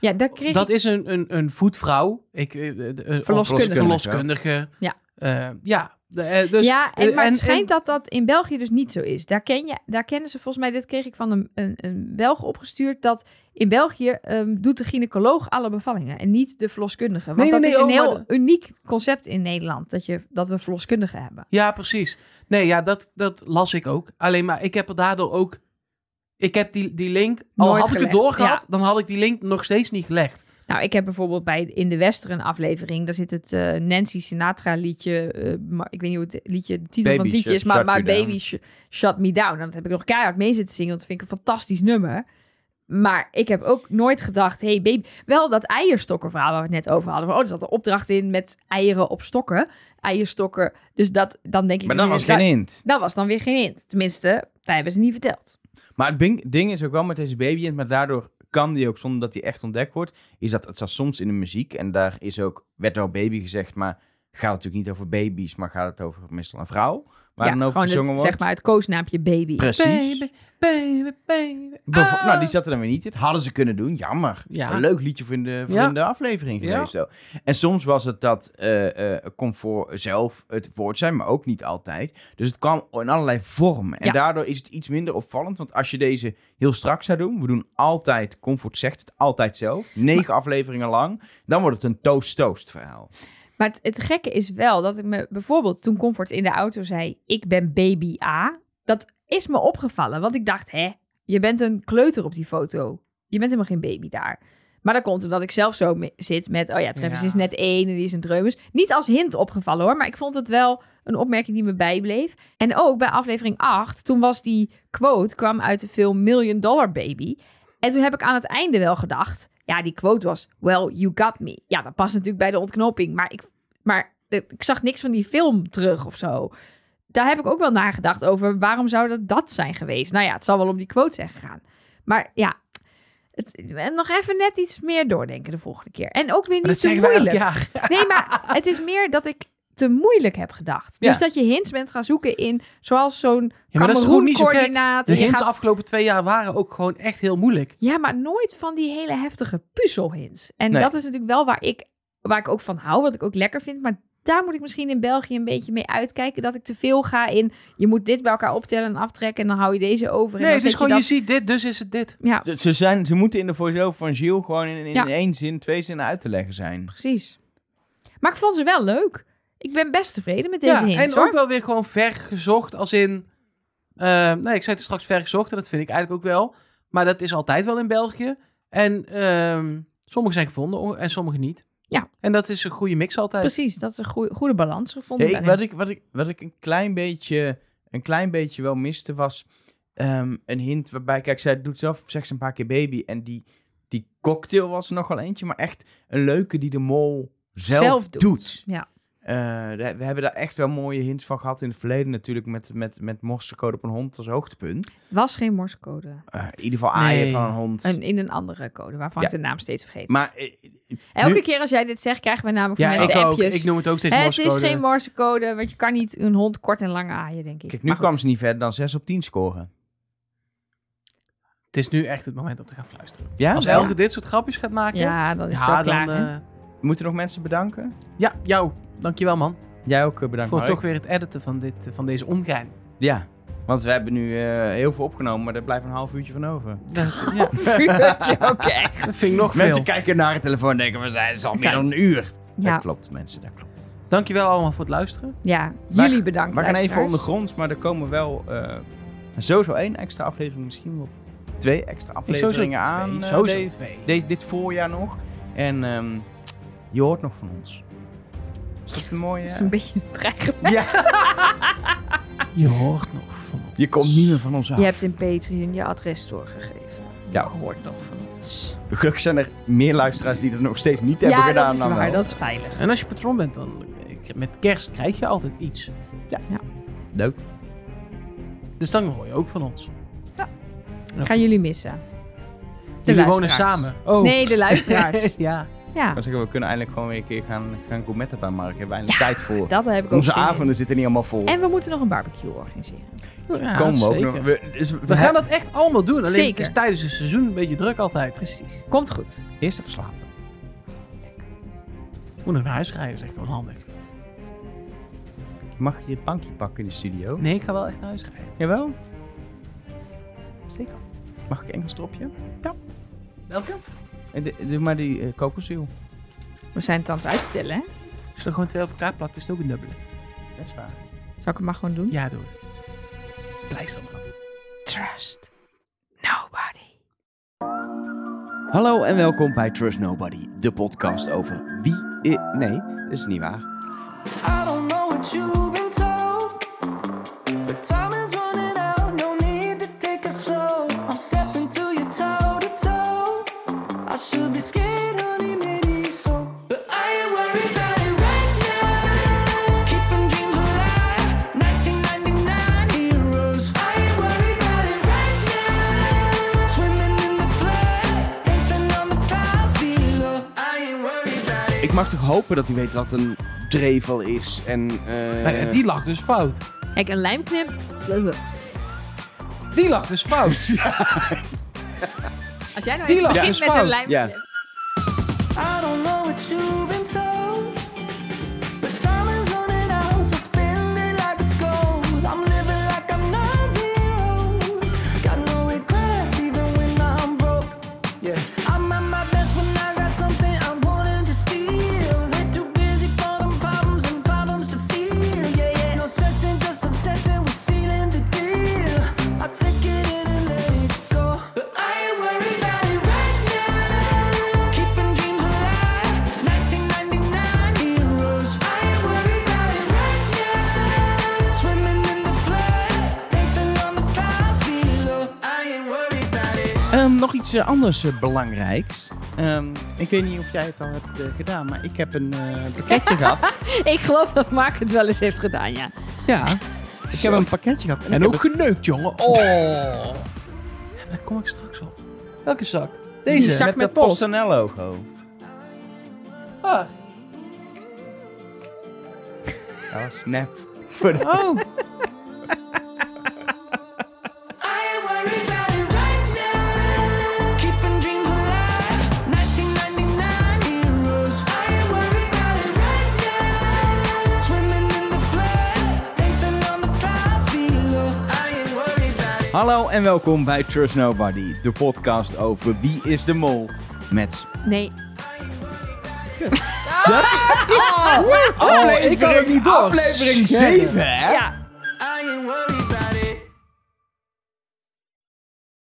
S3: ja daar kreeg
S2: Dat
S3: ik...
S2: is een, een, een voetvrouw. Ik, eh, eh, de- een
S3: Verloskundige.
S2: Verloskundige.
S3: Ja.
S2: Eh, ja. De- eh, dus,
S3: ja, en,
S2: eh,
S3: maar het
S2: en-
S3: schijnt
S2: en-
S3: dat dat in België dus niet zo is. Daar, ken je, daar kennen ze volgens mij, dit kreeg ik van een, een, een Belg opgestuurd, dat in België ehm, doet de gynaecoloog alle bevallingen en niet de verloskundige. Want
S2: Nee, nee, nee,
S3: dat is een
S2: oh,
S3: heel
S2: maar
S3: uniek concept in Nederland, dat, je, dat we verloskundigen hebben.
S2: Ja, precies. Nee, ja, dat, dat las ik ook. Alleen maar ik heb er daardoor ook... Ik heb die, die link... Al
S3: Nooit
S2: had ik het
S3: gelegd,
S2: doorgehad, dan had ik die link nog steeds niet gelegd.
S3: Nou, ik heb bijvoorbeeld bij in de Westeren aflevering, daar zit het eh, Nancy Sinatra liedje, eh, maar ik weet niet hoe het liedje, de titel van het
S1: Baby
S3: liedje is,
S1: Shut-
S3: maar
S1: Shut
S3: My
S1: You
S3: Baby Sh- Shut Me Down. En dat heb ik nog keihard mee zitten zingen, want dat vind ik een fantastisch nummer. Maar ik heb ook nooit gedacht, hey baby, wel dat eierstokkenverhaal waar we het net over hadden. Van, oh, er zat een opdracht in met eieren op stokken, eierstokken. Dus dat, dan denk ik...
S1: Maar dat was
S3: dus
S1: geen hint.
S3: Dat was dan weer geen hint. Tenminste, wij hebben ze niet verteld.
S1: Maar het bing- ding is ook wel met deze baby, maar daardoor kan die ook zonder dat die echt ontdekt wordt, is dat het staat soms in de muziek. En daar is ook, werd al baby gezegd, maar gaat het natuurlijk niet over baby's, maar gaat het over meestal een vrouw. Maar
S3: ja,
S1: dan over
S3: gewoon
S1: gezongen
S3: het,
S1: wordt.
S3: zeg maar het koosnaampje baby.
S1: Precies.
S2: Baby, baby, baby.
S1: Bevo-
S2: Ah.
S1: Nou, die zat er dan weer niet in. Hadden ze kunnen doen, jammer.
S2: Ja.
S1: Een leuk liedje voor in de, voor
S2: Ja.
S1: in de aflevering
S2: Ja.
S1: geweest. wel. En soms was het dat eh, eh, kon voor zelf het woord zijn, maar ook niet altijd. Dus het kwam in allerlei vormen. En
S3: Ja.
S1: daardoor is het iets minder opvallend. Want als je deze heel strak zou doen, we doen altijd, Comfort zegt het altijd zelf, negen afleveringen lang, dan wordt het een toast-toast verhaal.
S3: Maar het, het gekke is wel dat ik me bijvoorbeeld toen Comfort in de auto zei: Ik ben baby A. Dat is me opgevallen, want ik dacht: hè, je bent een kleuter op die foto. Je bent helemaal geen baby daar. Maar dat komt omdat ik zelf zo me- zit met: Oh ja, Travis
S2: Ja.
S3: is net één en die is een dreumes. Niet als hint opgevallen hoor, maar ik vond het wel een opmerking die me bijbleef. En ook bij aflevering 8, toen was die quote kwam uit de film Million Dollar Baby. En toen heb ik aan het einde wel gedacht. Ja, die quote was: Well, you got me. Ja, dat past natuurlijk bij de ontknoping. Maar ik, maar de- ik zag niks van die film terug of zo. Daar heb ik ook wel nagedacht over. Waarom zou dat dat zijn geweest? Nou ja, het zal wel om die quote zijn gegaan. Maar ja, het, en nog even net iets meer doordenken de volgende keer. En ook weer
S2: Maar dat
S3: niet te
S2: zeggen wij elk
S3: moeilijk.
S2: jaar.
S3: Nee, maar het is meer dat ik te moeilijk heb gedacht.
S1: Ja.
S3: Dus dat je hints bent gaan zoeken in, zoals zo'n
S2: Ja, maar dat is ook niet zo gek.
S3: Cameroen-coördinaat.
S2: De
S3: En je
S2: hints de
S3: gaat-
S2: afgelopen twee jaar waren ook gewoon echt heel moeilijk.
S3: Ja, maar nooit van die hele heftige puzzelhints. En
S1: Nee.
S3: dat is natuurlijk wel waar ik, waar ik ook van hou, wat ik ook lekker vind. Maar daar moet ik misschien in België een beetje mee uitkijken. Dat ik te veel ga in, je moet dit bij elkaar optellen en aftrekken. En dan hou je deze over. En
S2: Nee,
S3: dan
S2: het is
S3: zet
S2: gewoon, je
S3: dat-
S2: ziet dit, dus is het dit.
S3: Ja,
S1: Ze, ze zijn, ze moeten in de voice-over van Gilles gewoon in, in
S3: Ja.
S1: één zin, twee zinnen uit te leggen zijn.
S3: precies. Maar ik vond ze wel leuk. Ik ben best tevreden met deze
S2: Ja,
S3: hints,
S2: en
S3: hoor.
S2: ook wel weer gewoon vergezocht als in... eh, nee, ik zei het straks vergezocht en dat vind ik eigenlijk ook wel. Maar dat is altijd wel in België. En ehm sommige zijn gevonden o- en sommige niet.
S3: Ja.
S2: En dat is een goede mix altijd.
S3: Precies, dat is een goeie- goede balans
S1: Ja,
S3: gevonden.
S1: ik,
S3: daarin.
S1: wat, ik, wat, ik, wat ik een klein beetje, een klein beetje wel miste was ehm, een hint waarbij, kijk, zij doet zelf seks een paar keer baby en die, die cocktail was er nog wel eentje, maar echt een leuke die de mol zelf, doet.
S3: Ja.
S1: Eh, daar- we hebben daar echt wel mooie hints van gehad in het verleden natuurlijk met, met, met morsecode op een hond als hoogtepunt.
S3: Was geen morsecode.
S1: Eh, in ieder geval aaien
S2: Nee.
S1: van een hond.
S3: Een, in een andere code, waarvan
S1: Ja.
S3: ik de naam steeds vergeet.
S1: Maar eh,
S3: Elke
S1: nu-
S3: keer als jij dit zegt, krijgen we namelijk
S2: Ja,
S3: van mensen
S2: ik ook.
S3: appjes.
S2: Ik noem het ook steeds
S3: Het is
S2: morsecode.
S3: geen morsecode, want je kan niet een hond kort en lang aaien, denk ik.
S1: kijk, nu
S3: Maar goed.
S1: kwam ze niet verder dan 6 op 10 scoren.
S2: Het is nu echt het moment om te gaan fluisteren.
S1: Ja,
S2: Als
S1: wel?
S2: Elke dit soort grapjes gaat maken...
S3: Ja, dan is
S2: ja,
S3: het wel klaar.
S2: dan,
S3: hè?
S2: eh,
S1: Moeten we nog mensen bedanken?
S2: ja, jou. Dankjewel, man.
S1: Jij ook eh, bedankt,
S2: voor
S1: Mark.
S2: toch weer het editen van, dit, van deze ongein.
S1: Ja, want we hebben nu eh, heel veel opgenomen, maar er blijft een half uurtje van over.
S2: Ja,
S3: Vuurtje, oké.
S2: dat vind ik nog veel.
S1: Mensen kijken naar de telefoon en denken, we zijn het is al meer dan een uur.
S3: Ja,
S1: Dat klopt, mensen, dat klopt.
S2: Dankjewel allemaal voor het luisteren.
S3: ja,
S1: Maar-
S3: jullie bedankt.
S1: we gaan even
S3: luisteraars.
S1: ondergronds, maar er komen wel eh sowieso één extra aflevering, misschien wel twee extra
S2: Ik sowieso
S1: afleveringen aan
S2: twee,
S1: eh,
S2: sowieso
S1: de-
S2: twee.
S1: de- dit voorjaar nog. En ehm, je hoort nog van ons. Is dat een mooie...
S3: Dat is een beetje een dreigement.
S1: ja.
S2: Je hoort nog van ons.
S1: Je komt niet meer van ons af.
S3: Je hebt in Patreon je adres doorgegeven.
S1: Ja.
S3: Je hoort nog van ons.
S1: Gelukkig zijn er meer luisteraars die dat nog steeds niet hebben
S3: ja,
S1: gedaan
S3: dat is
S1: dan
S3: waar.
S1: wel.
S3: Dat is veilig.
S2: En als je patron bent, dan ik- met kerst krijg je altijd iets.
S1: Leuk.
S2: Dus dan hoor je ook van ons. Ja.
S3: Gaan jullie missen. De
S2: Jullie wonen
S3: luisteraars.
S2: samen. Oh.
S3: Nee, de luisteraars.
S2: ja.
S3: ja,
S1: Ik zou zeggen, we kunnen eindelijk gewoon weer een keer gaan, gaan gourmetten bij Mark. Hebben we eindelijk tijd voor.
S3: dat heb ik ook
S1: Onze
S3: zin in.
S1: avonden zitten niet allemaal vol.
S3: En we moeten nog een barbecue organiseren.
S2: Ja,
S1: Komen we ook
S2: zeker.
S1: nog. We, dus we-
S2: We gaan dat echt allemaal doen. Alleen het
S3: Zeker.
S2: is tijdens het seizoen een beetje druk altijd.
S3: Precies. Komt goed.
S1: Eerst even slapen.
S2: Moet nog naar huis rijden, is echt onhandig.
S1: Mag je je bankje pakken in de studio?
S2: Nee, ik ga wel echt naar huis rijden.
S1: Jawel.
S2: Zeker.
S1: Mag ik Engels dropje?
S2: Welke?
S1: Eh, de- Doe maar die eh, kokosziel.
S3: We zijn het aan het uitstellen, hè?
S2: Als je er gewoon twee op elkaar plakt, is het ook een dubbele.
S1: Dat is waar.
S3: Zal ik het maar gewoon doen?
S2: Ja, doe het. Pleister maar af.
S3: Trust nobody.
S1: Hallo en welkom bij Trust Nobody, de podcast over wie... i- nee, dat is niet waar.
S8: I don't know what you've been told, but time is running out. No need to take it slow. I'm stepping to you toe to toe. I should be scared, honey, maybe so, but I ain't worried about it right now. Keeping dreams alive, 1999 heroes. I ain't worried about it right now. Swimming in the floods,
S1: Ik mag toch hopen dat hij weet wat een drevel is. En, eh,
S2: Nou ja, die lag dus fout.
S3: Kijk, een lijmknip.
S2: Die lag dus fout.
S3: Als jij nou
S2: Die
S3: even
S2: lag
S3: begint
S2: dus
S3: met
S2: fout.
S3: een lijmknip.
S1: Ja.
S8: I don't know what you've been told, but time is running out, so spend it like it's gold. I'm living like I'm 19 Got no regrets even when I'm broke. Yeah, I'm at my best when I got something I wanted to steal. They're too busy for them problems and problems to feel. Yeah, yeah, no stressing, just obsessing with sealing the deal. I take it in and let it go, but I ain't worried about it right now. Keeping dreams alive, 1999 heroes. I ain't worried about it right now. Swimming in the floods, dancing on the clouds below. I ain't worried about it.
S1: Ehm, nog iets eh, anders eh, belangrijks. Ehm, ik weet niet of jij het al hebt eh, gedaan, maar ik heb een eh, pakketje gehad.
S3: Ik geloof dat Mark het wel eens heeft gedaan, ja.
S2: ja.
S1: Ik heb een pakketje gehad. ik
S2: En
S1: heb
S2: ook geneukt, jongen. Oh. Ja, daar kom ik straks op. Welke zak? Deze.
S3: Die zak
S1: het,
S3: met
S1: eh, dat
S3: post.
S1: PostNL-logo.
S2: Ah.
S1: Dat was nep. Voor de-
S2: Oh.
S8: I ain't worried about it right now. Keeping dreams alive, 1999 heroes. I ain't worried about it right now. Swimming in the floods, dancing on the clouds below. I ain't worried about it.
S1: Hallo en welkom bij Trust Nobody, de podcast over Wie is de Mol met...
S3: Nee.
S1: Oh,
S2: ik had het niet door.
S1: Aflevering
S2: Shit.
S1: 7, hè?
S3: Ja.